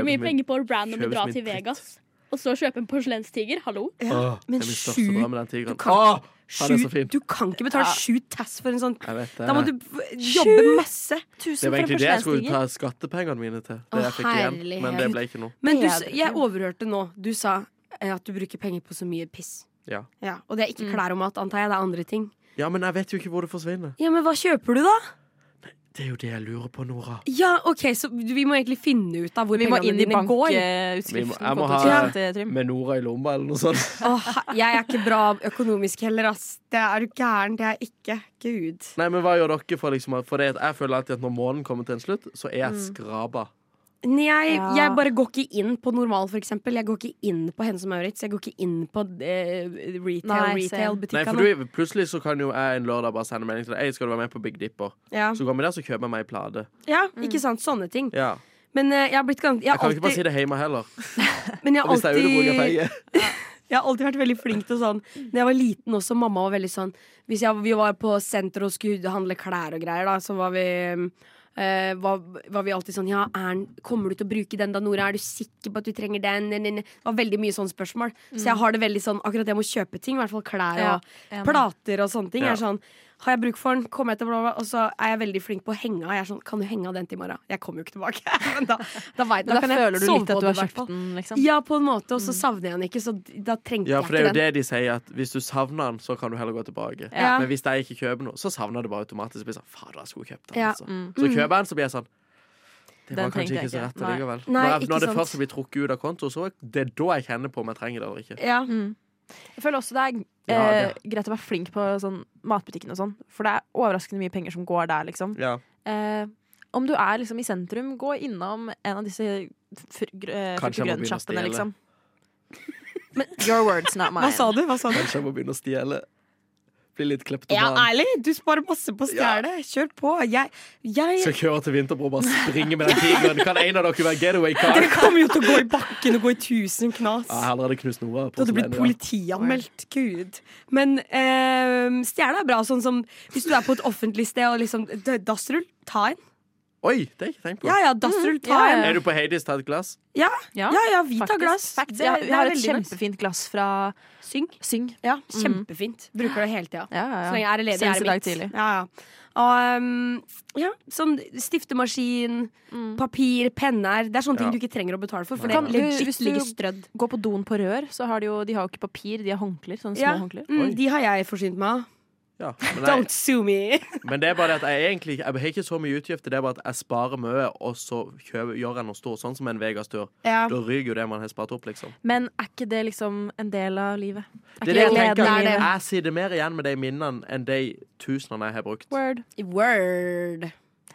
C: Kjøpe
G: mye
C: min-
G: penger på å random
C: kjøpe
G: dra
C: min
G: til
C: dritt.
G: Vegas. Og så kjøpe en porselenstiger. Hallo?
C: Åh, det
B: Men
C: er min største
B: sju-
C: drøm, den tigeren.
B: kan-
C: Åh, han er
B: Sju,
C: så fin.
B: du kan ikke betale
D: Ja.
B: sju tass for en sånn.
C: Jeg vet det.
B: Da må du f- jobbe masse.
D: Tusen
C: Det
D: for
C: var
D: en
C: egentlig det jeg skulle
D: porselenstiger.
C: ta skattepengene mine til. Det
D: Å,
C: jeg fikk igjen. Men det ble ikke noe.
B: Men du, s-
D: Bedre.
B: jeg overhørte nå. Du sa eh, at du bruker penger på så mye piss.
C: Ja.
B: og det er ikke
D: Mm.
B: klær og mat, antar jeg. Det er andre ting.
C: Ja, men jeg vet jo ikke hvor det forsvinner.
B: Ja, Men hva kjøper du, da?
C: Det er jo det jeg lurer på, Nora.
B: Ja, ok, Så vi må egentlig finne ut av hvor
D: Vi må
B: pengene
D: inn i
B: dine går.
C: Vi
D: bankutskriften.
C: må- jeg må
D: på
C: ha-
D: torsdag til Trym.
C: Med Nora i lomma, eller noe sånt.
B: Åh, jeg er ikke bra økonomisk heller, ass. Det er du gæren. Det er jeg ikke. Gud.
C: <laughs> Nei, men hva gjør dere for liksom For det at jeg føler alltid at når månen kommer til en slutt, så er jeg skraba.
B: Nei, jeg,
D: Ja.
B: jeg bare går ikke inn på normal, for eksempel. Jeg går ikke inn på Hennes og Maurits. Jeg går ikke inn på eh, retail,
D: Nei,
C: Nei,
D: same.
B: retail-butikkene.
C: for du, plutselig så kan jo jeg en lørdag bare sende melding til deg. Ei, skal du være med på Big Dipper?
B: Ja.
D: Mm.
C: Så går vi der, så kjøper jeg meg ei plate.
B: ja, ikke sant. Sånne ting.
C: Ja.
B: Men eh, jeg har blitt gans- jeg
C: Jeg
B: har
C: kan jo ikke bare
B: alltid,
C: si det hjemme heller.
B: men jeg har
C: Hvis jeg er ute og bruker
B: alltid
C: penger.
B: Jeg har alltid vært veldig flink til sånn Da jeg var liten også, mamma var veldig sånn Hvis jeg, vi var på senter og skulle handle klær og greier da Så var vi eh, var, var vi alltid sånn Ja, Ern, kommer du til å bruke den da, Nora? Er du sikker på at du trenger den? Nei, nei, nei. Det var veldig mye sånne spørsmål Så jeg har det veldig sånn, akkurat jeg må kjøpe ting I hvert fall klær
D: Mm. Ja,
B: og plater og sånne ting
C: Ja.
B: Jeg er sånn, har jeg bruk for den? Kommer jeg til å bla bla bla? Og så er jeg veldig flink på å henge av Jeg er sånn, kan du henge av den til i morgen? Jeg kommer jo ikke tilbake <laughs> Men da, da vet
D: Da,
B: kan jeg
D: føler du
B: sove
D: litt
B: på
D: at
B: det
D: du har
B: i hvert
D: kjøpt
B: fall.
D: den, liksom.
B: Ja, på en måte, og så savner jeg den ikke, så d- da trengte
C: Ja,
B: jeg
C: for det er
B: ikke
C: jo
B: den.
C: det de sier, at hvis du savner den, så kan du heller gå tilbake.
B: Ja.
C: Men hvis jeg ikke kjøper noe, så savner jeg det bare automatisk. Jeg Blir sånn, Fader, jeg skulle kjøpt den,
B: Ja. mm.
C: altså. Så kjøper jeg den, så blir jeg sånn Det var kanskje
D: Den trengte jeg
C: ikke så
D: ikke.
C: rett
D: Nei.
C: allikevel.
B: Nei,
C: Når, jeg,
B: ikke
C: når det
B: sant.
C: først blir trukket ut av konto, så er det da jeg kjenner på om jeg trenger det eller ikke.
B: Ja.
D: Jeg føler også det er eh,
C: Ja,
D: greit å være flink på sånn matbutikken og sånn, for det er overraskende mye penger som går der, liksom.
C: Ja.
D: Eh, om du er liksom i sentrum, gå innom en av disse fr- gr- eh, frukt-
C: Kanskje
D: og
C: jeg må begynne å
D: grønnsjappene,
C: stjele.
D: liksom. Men, your words, not mine.
B: du? Hva sa
C: Kanskje jeg må begynne å stjele. Bli litt
B: Ja,
C: kleptoman.
B: ærlig, du sparer masse på å stjele. Kjør på. Jeg,
C: Skal
B: jeg
C: kjøre til Vinterbro og bare springe med den tigeren. Kan en av dere være
B: <laughs>
C: getaway car?
B: Dere kommer jo til å gå i bakken og gå i tusen knas.
C: Ah, Ja, jeg har allerede knust noe. av
B: Du hadde blitt
C: porselenet,
B: politianmeldt. Gud. Men eh, stjele er bra. Sånn som hvis du er på et offentlig sted og liksom d- Dassrull, ta en.
C: ja. Oi, det har jeg ikke tenkt på.
B: Ja Mm, ja, dassrull, ta
D: ja, ja.
B: en.
C: Er du på Hades ta et glass?
D: Ja,
B: Ja ja, vi tar
D: faktisk.
B: glass.
D: Facts.
B: Det-
D: jeg, har-
B: det
D: jeg har
B: er
D: et
B: veldig nice.
D: kjempefint glass fra
B: Syng.
D: Syng.
B: Ja, kjempefint. Bruker det hele tida.
D: Ja, ja, ja.
B: Så lenge jeg er ledig,
D: Senest
B: er
D: i dag
B: det
D: tidlig.
B: mitt. Ja, ja. Og, um, ja, sånn stiftemaskin, papir, penner. Det er sånne ting
C: Ja.
B: du ikke trenger å betale for. For
C: Nei,
B: det
C: nei.
D: Mm. Du-
B: legit
D: hvis du-
B: ligger strødd.
D: Gå på doen på rør, så har de jo De har jo ikke papir, de har håndklær. Sånne små
B: Ja.
D: håndklær.
B: Mm,
C: Oi.
B: de har jeg forsynt meg av.
C: Ja. Men, jeg,
B: Don't sue me! <laughs>
C: men det er bare det at jeg egentlig ikke- jeg har ikke så mye utgifter. Det er bare at jeg sparer mye, og så kjøper, gjør jeg noe stort. Sånn som en Vegas-tur.
B: Ja.
C: Da ryker jo det man har spart opp, liksom.
D: Men er ikke det liksom en del av livet? Er
C: Det er det jeg
D: ikke
C: tenker.
D: gleden i
B: Det er det.
C: Jeg sitter mer igjen med de minnene enn de tusenene jeg har brukt.
D: Word.
B: Word.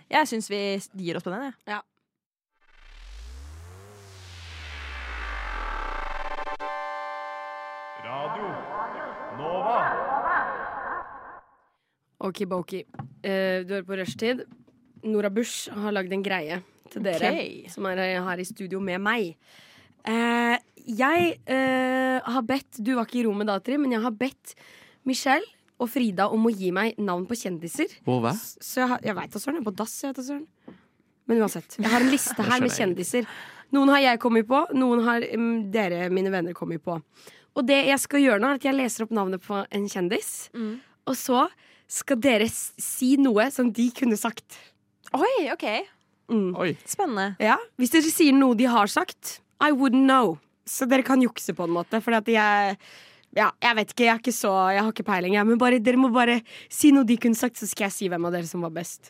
D: Jeg syns vi gir oss på den, jeg.
B: Okidoki. Eh, du hører på Rushtid. Nora Bush har lagd en greie til dere
D: Ok.
B: som er eh, her i studio med meg. Eh, jeg eh, har bedt Du var ikke i rommet da, Trym, men jeg har bedt Michelle og Frida om å gi meg navn på kjendiser.
C: Hvor hva?
B: Så jeg, har- jeg veit da søren. Jeg er på dass, jeg vet da søren. Men uansett. Jeg har en liste her med
C: skjønner
B: kjendiser. Noen har jeg kommet på, noen har mm, dere, mine venner, kommet på. Og det jeg skal gjøre nå, er at jeg leser opp navnet på en kjendis. Og så skal dere s- si noe som de kunne sagt.
D: Oi, ok.
B: Mm.
C: Oi.
D: Spennende.
B: Ja. Hvis dere sier noe de har sagt, I wouldn't know. Så dere kan jukse på en måte. Fordi at jeg ja, jeg vet ikke, jeg, er ikke så, jeg har ikke peiling. Jeg. Men bare, dere må bare si noe de kunne sagt, så skal jeg si hvem av dere som var best.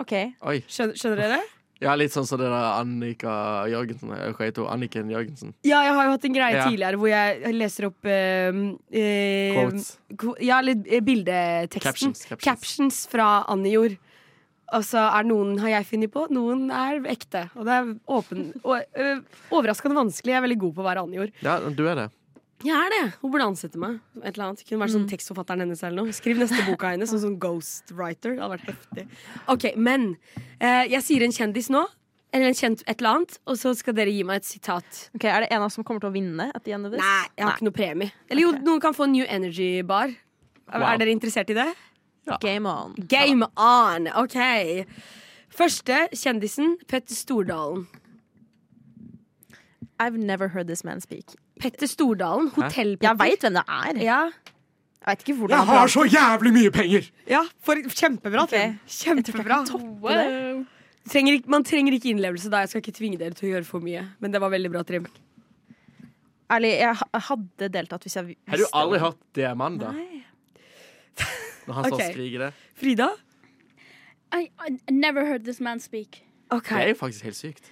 D: Ok.
C: Oi.
B: Skjønner, skjønner dere?
C: Ja, litt sånn som det der Annika Jørgensen. eh, Hva heter hun? Anniken Jørgensen.
B: Ja, jeg har jo hatt en greie
C: Ja.
B: tidligere hvor jeg leser opp eh, eh,
C: Quotes.
B: ko- Ja, eller eh, bildeteksten.
C: Captions, captions.
B: Captions fra Anjor. Og så er noen har jeg funnet på, noen er ekte. Og det er åpen, <laughs> og, eh, overraskende vanskelig. Jeg er veldig god på å være Anjor.
C: Ja, du er det.
B: Jeg er det! Hun burde ansette meg. som Et eller annet. Kunne vært sånn tekstforfatteren hennes eller noe. Skriv neste boka hennes som sånn ghostwriter. Det hadde vært heftig. Ok, Men eh, jeg sier en kjendis nå, eller en kjent et eller annet, og så skal dere gi meg et sitat.
D: Ok, Er det en av oss som kommer til å vinne? at the end of this?
B: Nei, jeg har ikke noe premie. Eller jo, noen kan få New Energy-bar. Er
C: Wow.
B: er dere interessert i det?
D: Game on.
B: Game on! OK. Første kjendisen Petter Stordalen.
D: I've never heard this man speak.
B: Petter Stordalen,
D: Jeg
B: Hotell-Petter.
D: veit hvem det er.
B: Ja.
D: Jeg vet ikke hvordan han prater.
C: så jævlig mye penger!
B: ja, for kjempebra. Trym. Kjempebra.
G: Wow.
B: Trenger ikke, man trenger ikke innlevelse da. Jeg skal ikke tvinge dere til å gjøre for mye. Men det var veldig bra, Trym.
D: Ærlig, jeg ha- hadde deltatt hvis jeg vi- visste
C: Har du aldri
D: det.
C: hørt det mann, da?
D: Nei.
C: Når han står
B: Ok.
C: og skriker det.
B: Frida?
G: I, I never heard this man speak.
B: OK.
C: Det er jo faktisk helt sykt.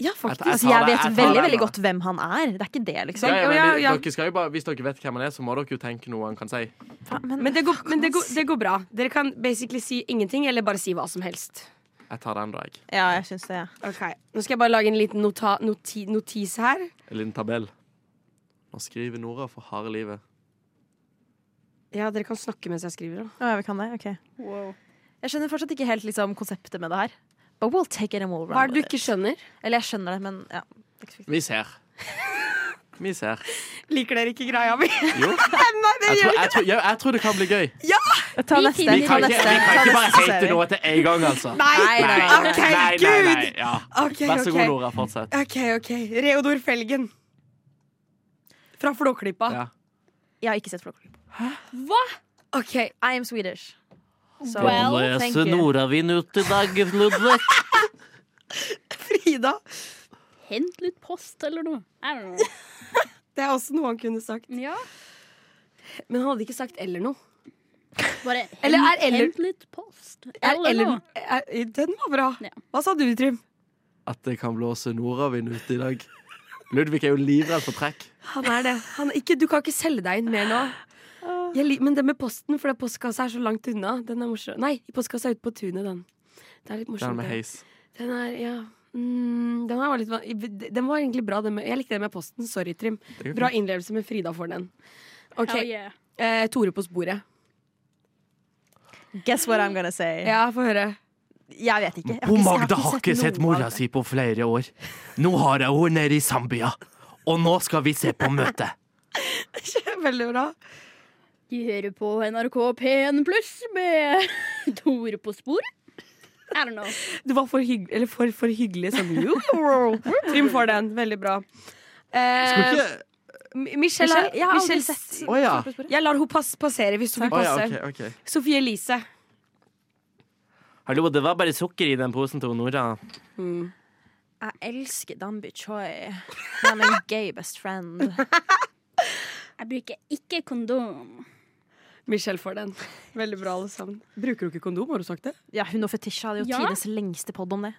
B: Ja,
C: Jeg
B: faktisk.
C: tar-
D: Altså, jeg
C: det,
D: vet
C: jeg tar
D: veldig
C: det,
D: veldig
C: da.
D: godt hvem han er. Det er ikke det, liksom.
C: Ja, ja, men
B: ja,
C: vi-
B: ja.
C: Dere skal jo bare, hvis dere vet hvem han er, så må dere jo tenke noe han kan si.
D: Faen, Men,
B: Men, det går, men det, går, det går bra. Dere kan basically si ingenting, eller bare si hva som helst.
C: Jeg tar den, da. jeg.
D: Ja, jeg syns det. ja.
B: Ok, Nå skal jeg bare lage en liten nota, noti, notis her.
C: En liten tabell. Nå skriver Nora for harde livet.
B: Ja, Dere kan snakke mens jeg skriver. da.
D: Å, ja, vi kan det? Ok. Jeg skjønner fortsatt ikke helt liksom, konseptet med det her. But we'll take it and we'll run
B: Hva er det du
D: with
B: ikke
D: it.
B: skjønner?
D: Eller jeg skjønner det, men ja. det er ikke så viktig.
C: Vi ser. Vi ser.
B: Liker dere ikke greia mi?
D: <laughs>
C: Jo. Jeg tror, jeg, tror, jeg, jeg tror det kan bli gøy.
D: Ta
G: Vi
D: neste.
G: finner
C: Vi kan ikke,
D: Ta neste.
C: vi kan
D: ta
C: ikke bare
D: neste, så ser
C: hate
D: vi.
C: noe til en gang, altså.
B: Nei!
D: nei, nei.
B: OK,
C: nei, nei,
B: gud!
C: nei. Ja.
B: Ok,
C: Vær så
B: ok.
C: god, Nora. Fortsett.
B: OK, ok. Reodor Felgen. Fra Flåklypa.
C: Ja.
D: Jeg har ikke sett Flåklypa.
G: Hva?
B: OK.
D: I am Swedish. So,
G: Well,
D: thank you.
C: Nordavind ut i dag, Ludvig.
B: Frida.
G: Hent litt post eller noe. I don't know.
B: Det er også noe han kunne sagt.
G: Ja.
B: Men han hadde ikke sagt 'eller' noe.
G: Bare hent,
B: Eller er eller-
G: hent litt post. Eller, noe.
B: er, den var bra.
G: Ja.
B: Hva sa du, Trym?
C: At det kan blåse nordavind ute i dag. Ludvig er jo livredd for trekk.
B: Han er det. Han, ikke, du kan ikke selge deg inn mer nå. Jeg, lik- men det med posten, for det postkassa er så langt unna. Den er morsom. Nei, postkassa er ute på tunet, den. Det er litt
C: Den
B: morsomt.
C: med
B: det.
C: heis.
B: Den er, ja. Mm, den, her var litt, van- den var egentlig bra. Den med, jeg likte den med posten. Sorry, Trym.
C: går
B: Bra innlevelse, men Frida får den. OK.
G: Hell yeah.
B: eh, Tore på sporet.
D: Guess what I'm gonna say.
B: Ja, få høre. <laughs>
D: Jeg vet ikke. Jeg
C: Hun
D: ikke- jeg
C: Magda har ikke sett
D: noe av
C: mora
D: det.
C: si på flere år. Nå har jeg henne nede i Zambia, og nå skal vi se på møtet.
D: <laughs>
B: Veldig bra.
G: De hører på NRK P1 pluss med <laughs> Tore på sporet. I don't know.
B: Du var for, hygg, eller for, for hyggelig sånn Trym får den. Veldig bra. Eh, Mi- Michelle,
D: Michelle- jeg har aldri
B: Michelle-
D: sett-
C: Å ja.
B: Jeg lar hun pass passere hvis hun vil
C: Å ja,
B: passe.
C: ok, ok.
B: Sofie Elise.
C: Hallo, det var bare sukker i den posen til Nora.
D: Jeg elsker Dambi Choi. Han er min gay best friend.
G: Jeg bruker ikke kondom.
B: Michelle får den. Veldig bra, alle sammen. Bruker du ikke kondom, har du sagt det?
D: Ja, hun og Fetisha hadde jo
G: Ja.
D: tidenes lengste pod om det.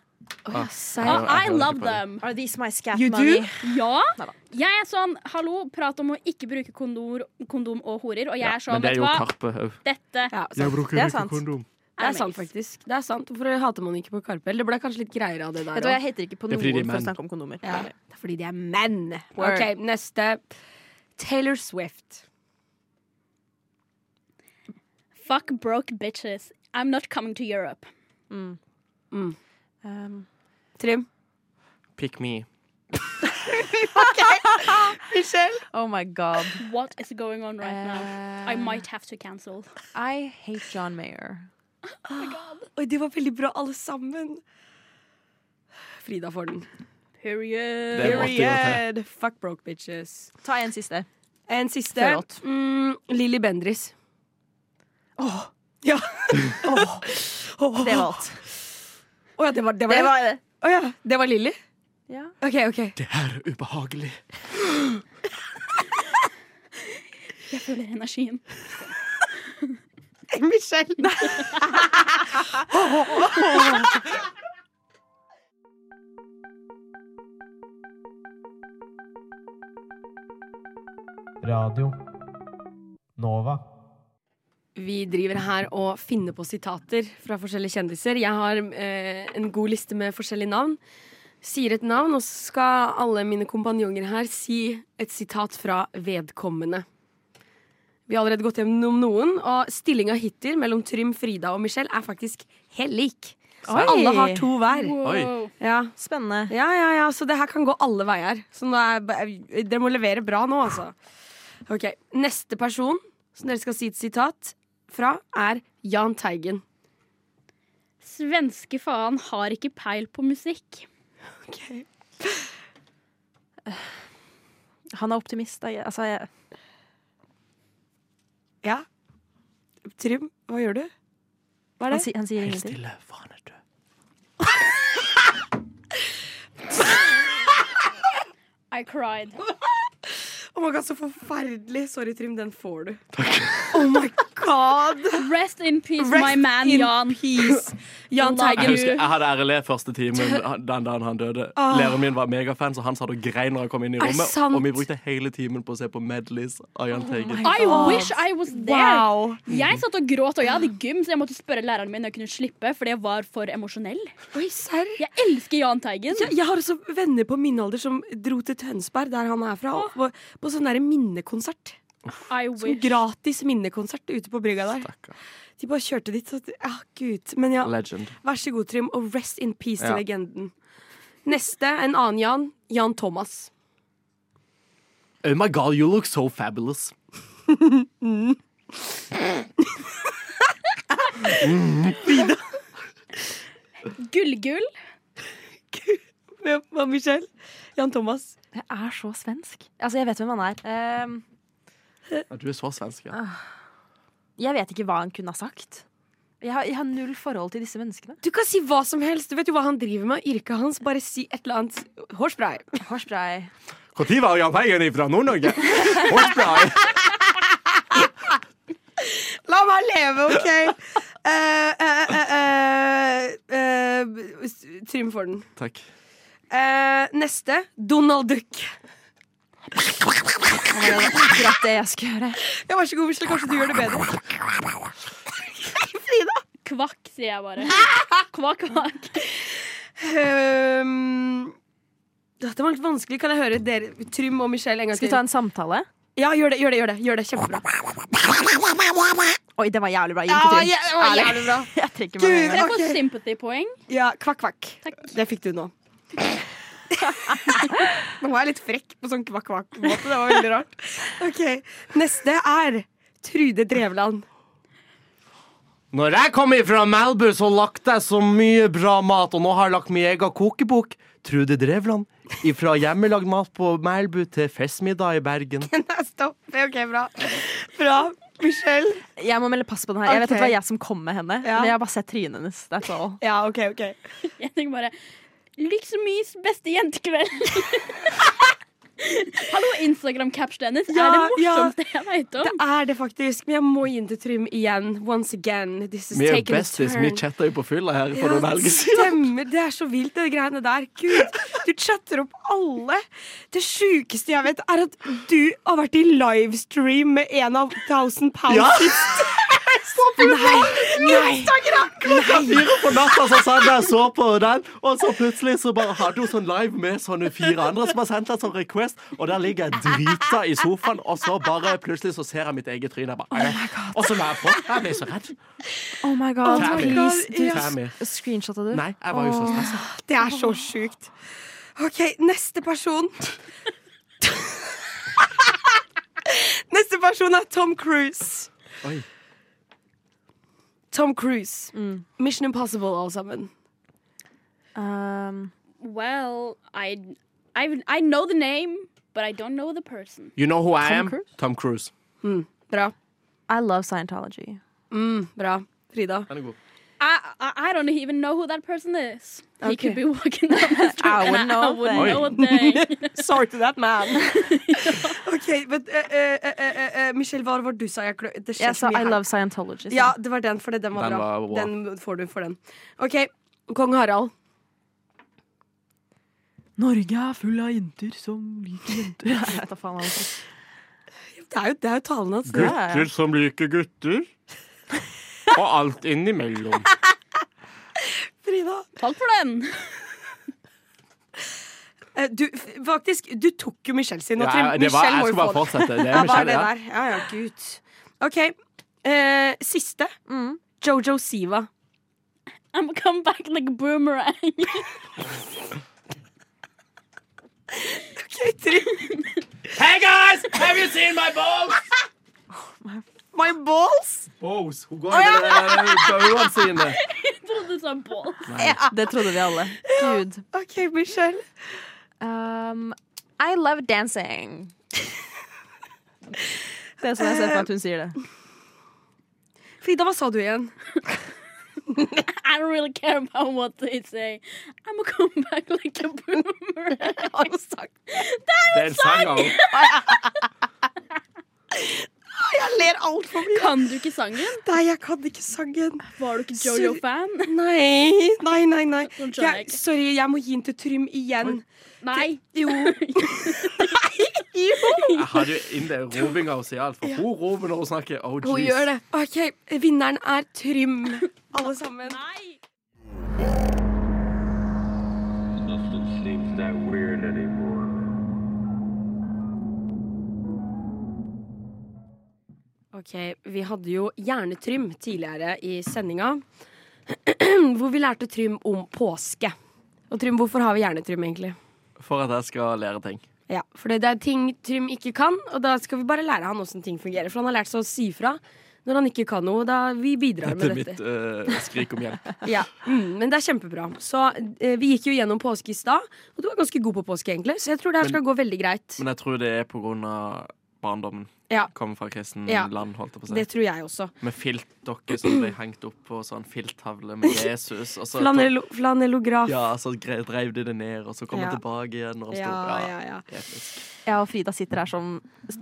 B: ja,
G: Ah,
B: serr.
C: jeg
G: I
C: hører
G: love
C: ikke på det.
G: them.
D: Are these my scat
B: You
D: money?
B: do?
G: Ja.
D: Neida.
G: Jeg er sånn hallo, prat om å ikke bruke kondor, kondom og horer. Og jeg er sånn,
C: Men det er
G: vet du
C: jo
G: hva,
C: Karpe òg.
G: dette
B: Ja, sant.
D: Det er sant.
C: kondom.
B: det er sant, faktisk. Det er sant. Hvorfor hater man ikke på Karpe? Eller det ble kanskje litt greiere av det der
D: Vet du, hva,
B: også.
D: jeg hater ikke på
C: Det er
D: noen
C: fordi de er
D: for å
C: menn.
D: snakke om kondomer.
B: Ja. Det er fordi de er menn.
D: Word.
B: OK, neste. Taylor Swift.
G: Fuck broke bitches. I'm not coming to Europe.
D: Um,
B: Trym.
C: Pick me.
B: Michelle.
D: oh my god. Eh,
G: What is going on right now? I might have to cancel. <laughs>
D: I hate John Mayer.
B: Oi, det var veldig bra, alle sammen. Frida får den.
G: Period.
C: Det måtte jo til.
B: Period. Fuck broke bitches.
D: Ta en siste.
B: En siste.
D: Før alt.
B: Mm, Lilly Bendris. <laughs> Ja. Åh.
D: Det var alt.
B: Å ja, det var det. Var det,
D: var det.
B: Å ja, det var Lilly?
D: Ja.
B: OK, OK.
C: Det her er ubehagelig.
G: Jeg føler energien.
I: Radio Nova.
B: Vi driver her og finner på sitater fra forskjellige kjendiser. Jeg har eh, en god liste med forskjellige navn. Sier et navn, og så skal alle mine kompanjonger her si et sitat fra vedkommende. Vi har allerede gått gjennom noen, og stillinga hittil mellom Trym, Frida og Michelle er faktisk helt lik. Så
D: Oi.
B: alle har to hver.
G: Wow.
B: Ja.
D: Spennende.
B: Ja, ja, ja, så det her kan gå alle veier. Så nå er, eh, dere må levere bra nå, altså. Ok, Neste person som dere skal si et sitat fra, er Jahn Teigen.
G: Svenske faen har ikke peil på musikk.
D: Han er optimist. da. Jeg- Altså, jeg,
B: Ja. Trym, hva gjør du? Hva er
D: han,
B: det?
D: si, han sier
C: Helt
D: ingenting.
C: stille, for han er død.
G: I cried.
B: Oh my god, Så forferdelig. Sorry, Trym, den får du. Oh my god!
G: Rest in
B: Rest
G: peace, my man
B: in
G: Jan.
B: peace. <laughs> Jahn
G: Love
C: Jeg
B: Teigen.
C: husker, jeg hadde RLE første timen den dagen han døde. Læreren min var megafan, så han satt og grein når han kom inn i
B: Er det
C: rommet.
B: sant?
C: Og vi brukte hele timen på å se på medleys av Jahn Teigen.
G: I wish I was there.
B: Oh Wow.
G: Jeg satt og gråt, og jeg hadde gym, så jeg måtte spørre læreren min når jeg kunne slippe, for jeg var for emosjonell.
B: Oi, serr?
G: Jeg elsker Jahn Teigen.
B: Ja, jeg har også venner på min alder som dro til Tønsberg, der han er fra, og på, på sånn derre minnekonsert.
G: I
B: Som
G: wish.
B: gratis minnekonsert ute på brygga der. De bare kjørte dit. Så, ja, gud. Men ja,
C: Legend.
B: vær så god, Trym, og rest in peace
C: Ja.
B: til legenden. Neste, en annen Jan. Jan Thomas.
C: Oh my god, you look so fabulous.
G: Gullgull.
B: Hvem var Michelle? Jan Thomas.
D: Jeg er så svensk. Altså, jeg vet hvem han er. Ehm,
C: Ja, Du er så svensk, ja.
D: jeg vet ikke hva han kunne ha sagt. Jeg har, jeg har null forhold til disse menneskene.
B: Du kan si hva som helst. Du vet jo hva han driver med. Yrket hans. Bare si et eller annet. Hårspray.
D: Hårspray.
C: Når var Jahn Teigen fra Nord-Norge? Hårsbrei.
B: La meg leve, OK? Eh, eh, eh, eh, eh, s- Trym får den.
C: Takk.
B: Eh, neste. Donald Duck.
D: Det var akkurat det jeg skulle gjøre.
B: Ja, vær så god, Michelle. Kanskje du gjør det bedre.
G: Kvakk, sier jeg <laughs> bare. Kvakk, kvakk.
B: Ehm, dette var litt vanskelig. Kan jeg høre dere, Trym og Michelle en gang
D: Skal
B: til?
D: vi ta en samtale?
B: Ja, gjør det, gjør det, gjør det, gjør det. Kjempebra.
D: Oi, det var jævlig bra. Gikk
B: Ja,
D: til.
B: ja, det var
D: Ærlig.
B: jævlig bra.
D: <laughs> Jeg trekker meg med en
G: Jeg
D: gang.
G: får
B: Ok.
G: sympathy-poeng.
B: Ja, kvakk, kvakk. Det fikk <laughs> du nå. nå var jeg litt frekk på sånn kvakk-kvakk-måte. Det var veldig rart. <laughs> Ok, Neste er Trude Drevland.
C: Når jeg kom ifra Melbu, så lagde jeg så mye bra mat, og nå har jeg lagt min egen kokebok. Trude Drevland. Ifra hjemmelagd mat på Melbu til festmiddag i Bergen.
B: <laughs> Nei, Stopp. OK, bra. Bra. Michelle.
D: Jeg må melde pass på den her. Jeg vet
B: Ok.
D: at det var jeg som kom med henne.
B: Ja.
D: Men jeg har bare sett trynet hennes. That's all.
B: Ja, OK, OK.
G: Jeg tenker bare Lyksmys beste jentekveld. <laughs> Hallo, Instagram-capsen hennes
B: Ja,
G: er det
B: ja.
G: morsomste jeg veit
B: Det
G: om.
B: er det faktisk. Men jeg må inn til Trym igjen. Once again. This is
C: Vi er jo
B: taking a
C: bestis.
B: turn.
C: Vi chatta jo på fylla her for
B: Ja,
C: noen helger
B: det
C: siden.
B: stemmer. Det er så vilt, det greiene der. Gud, du chatter opp alle. Det sjukeste jeg vet, er at du har vært i livestream med en av 1000 pounds.
C: Ja.
B: Nei, nei.
C: Klokka fire på natta så satt jeg og så på den, og så plutselig så bare hadde hun sånn live med sånne fire andre som har sendt en sånn request, og der ligger jeg drita i sofaen, og så bare plutselig så ser jeg mitt eget tryne.
B: Oh
C: Jeg bare, «Æ». og så la jeg på. Jeg ble så redd.
D: Oh my god.
C: Tammy.
D: Please,
B: God,
D: du
B: ja.
C: Tammy.
D: Screenshotta du?
C: Nei, jeg var jo så stressa.
B: Det er så sjukt. OK, neste person. <laughs> Neste person er Tom Cruise.
C: Oi.
B: Tom Cruise. Mission Impossible, alle sammen.
D: Um,
G: Well, I, I, I know the name, but I don't know the person.
C: You know who I
D: Tom
C: am?
D: Cruise?
C: Tom Cruise.
B: Bra.
D: I love Scientology.
B: Mm, bra. Frida.
C: Han er god.
G: I, I, I don't even know who that person is. He
B: Okay.
G: could be walking down <laughs> the street
D: I
G: and
D: wouldn't
G: I, I
D: know
G: wouldn't
C: a
G: know a <laughs> thing.
D: <laughs> Sorry to that
G: <laughs>
D: man.
B: Ok, but, eh, eh, eh, eh, eh, Michelle, hva var det du sa? Jeg, klø- det skjer
D: Jeg
B: så
D: sa
B: mye
D: I
B: her.
D: love Scientology. så.
B: Ja, det var den, for det- den var
C: Den
B: bra.
C: var bra.
B: Den får du for den. OK, kong Harald.
D: Norge er full av jenter som liker jenter. <laughs> Jeg vet da faen hva det er.
B: Det er jo, det er jo talen hans.
D: Gutt. Ja, ja. Gutter
C: som liker gutter. Og alt
B: <laughs>
C: innimellom.
B: Frida.
G: Takk for den.
B: Eh, Du, f- faktisk, du tok jo Michelle sin. og
C: Ja,
B: Trym-
C: det var,
B: Michelle må
C: jeg
B: jo
C: skal bare
B: få den.
C: fortsette.
B: <laughs>
C: Det
B: Ja,
C: er
B: var
C: Michelle,
B: det
C: ja.
B: der? Ja, ja, gud. OK. eh, siste.
D: Mm.
B: Jojo Siva.
G: I'm gonna come back like a boomerang. <laughs>
B: Okay, Trym.
C: Hey guys, have you seen my balls?
B: <laughs> My balls!
C: Balls. Hun går med de der bauene
B: <laughs>
C: sine.
G: Jeg trodde du sa balls.
D: Det trodde vi alle. Gud.
B: OK, Michelle.
D: Um, I love dancing. Det er sånn jeg ser for meg at hun
G: <laughs>
D: sier det.
B: Frida, hva sa du igjen?
G: I don't really care about what they say. I'm gonna come <laughs> back like a boomerang.
B: Har hun sagt
C: Det er en sang av
B: Jeg ler altfor mye.
G: Kan du ikke sangen?
B: Nei, jeg kan ikke sangen.
G: Var du ikke Jojo-fan?
B: Nei, nei, nei. nei.
G: Sånn skjønner jeg
B: Jeg,
G: ikke.
B: sorry, jeg må gi den til Trym igjen.
G: Nei.
B: Jo.
D: <laughs>
B: jo.
C: Jeg hadde jo inn det rovinga hos i alt, for hun rover når hun snakker. Oh,
B: Hun
C: jeez.
B: gjør det. OK, vinneren er Trym. Alle sammen.
G: Nei.
I: Nothing seems that weird anymore.
B: Ok, Vi hadde jo Hjernetrym tidligere i sendinga, hvor vi lærte Trym om påske. Og Trym, hvorfor har vi Hjernetrym, egentlig?
C: For at jeg skal lære ting.
B: Ja, For det er ting Trym ikke kan, og da skal vi bare lære han åssen ting fungerer. For han har lært seg å si fra når han ikke kan noe. Da vi bidrar
C: Dette er
B: med dette.
C: mitt eh, skrik om hjelp.
B: Ja, mm, Men det er kjempebra. Så eh, Vi gikk jo gjennom påske i stad, og du var ganske god på påske, egentlig. Så jeg tror det her skal gå veldig greit.
C: <laughs> Men jeg tror det er på grunn av barndommen.
B: Ja.
C: Kommer fra kristen
B: Ja.
C: land, holdt jeg på å si.
B: Det tror jeg også.
C: Med filtdokker som ble hengt opp på sånn filttavle med Jesus. Og så
B: Flanello, flanellograf.
C: ja, så gre- dreiv de det ned, og så kom
B: Ja.
C: han tilbake igjen. Når han
B: ja,
C: sto,
B: ja, ja.
C: episk.
D: Jeg og Frida sitter her som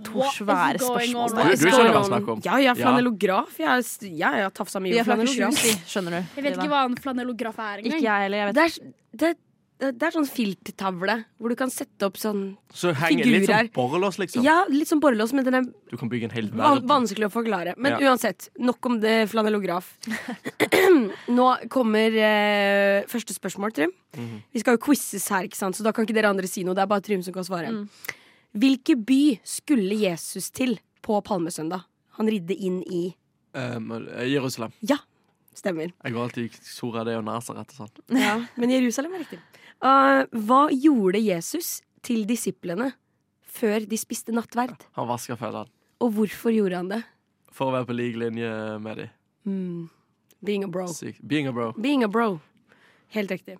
D: to
G: What is
D: svære
G: going on?
D: spørsmål.
C: Du- du skjønner hva jeg snakker om.
B: Ja, ja, flanellograf. Jeg, er s- ja, jeg har tafsa mye
D: Vi
B: på
D: er fra Akershus,
B: flanellograf.
D: vi, skjønner du.
G: Jeg vet ikke hva en flanellograf er
D: Ikke
G: engang.
D: jeg heller. Jeg vet.
B: Det er, det, det det er sånn filttavle hvor du kan sette opp sånn
C: Så henger litt
B: Figurer.
C: sånn borrelås, liksom.
B: Ja, litt sånn borrelås, men den er
C: Du kan bygge en hel
B: van
C: verden.
B: vanskelig å forklare. Men
C: Ja.
B: uansett, nok om det
C: <clears throat>
B: flanellograf. Nå kommer eh, første spørsmål, Trym.
C: Mhm.
B: Vi skal jo quizzes her, ikke sant? så da kan ikke dere andre si noe. Det er bare Trym som kan svare.
C: Mm.
B: Hvilke by skulle Jesus til på palmesøndag? Han ridde inn i
C: Um, eh, Jerusalem.
B: Stemmer.
C: Jeg går alltid i Sora de og Nazaret og sånn.
B: Ja, men Jerusalem er riktig. Eh, hva gjorde Jesus til disiplene før de spiste nattverd?
C: Han vasker føttene.
B: Og hvorfor gjorde han det?
C: For å være på lik linje med de.
B: Mm. Being a bro.
C: Sykt. Being a bro.
B: Being a bro. Helt riktig.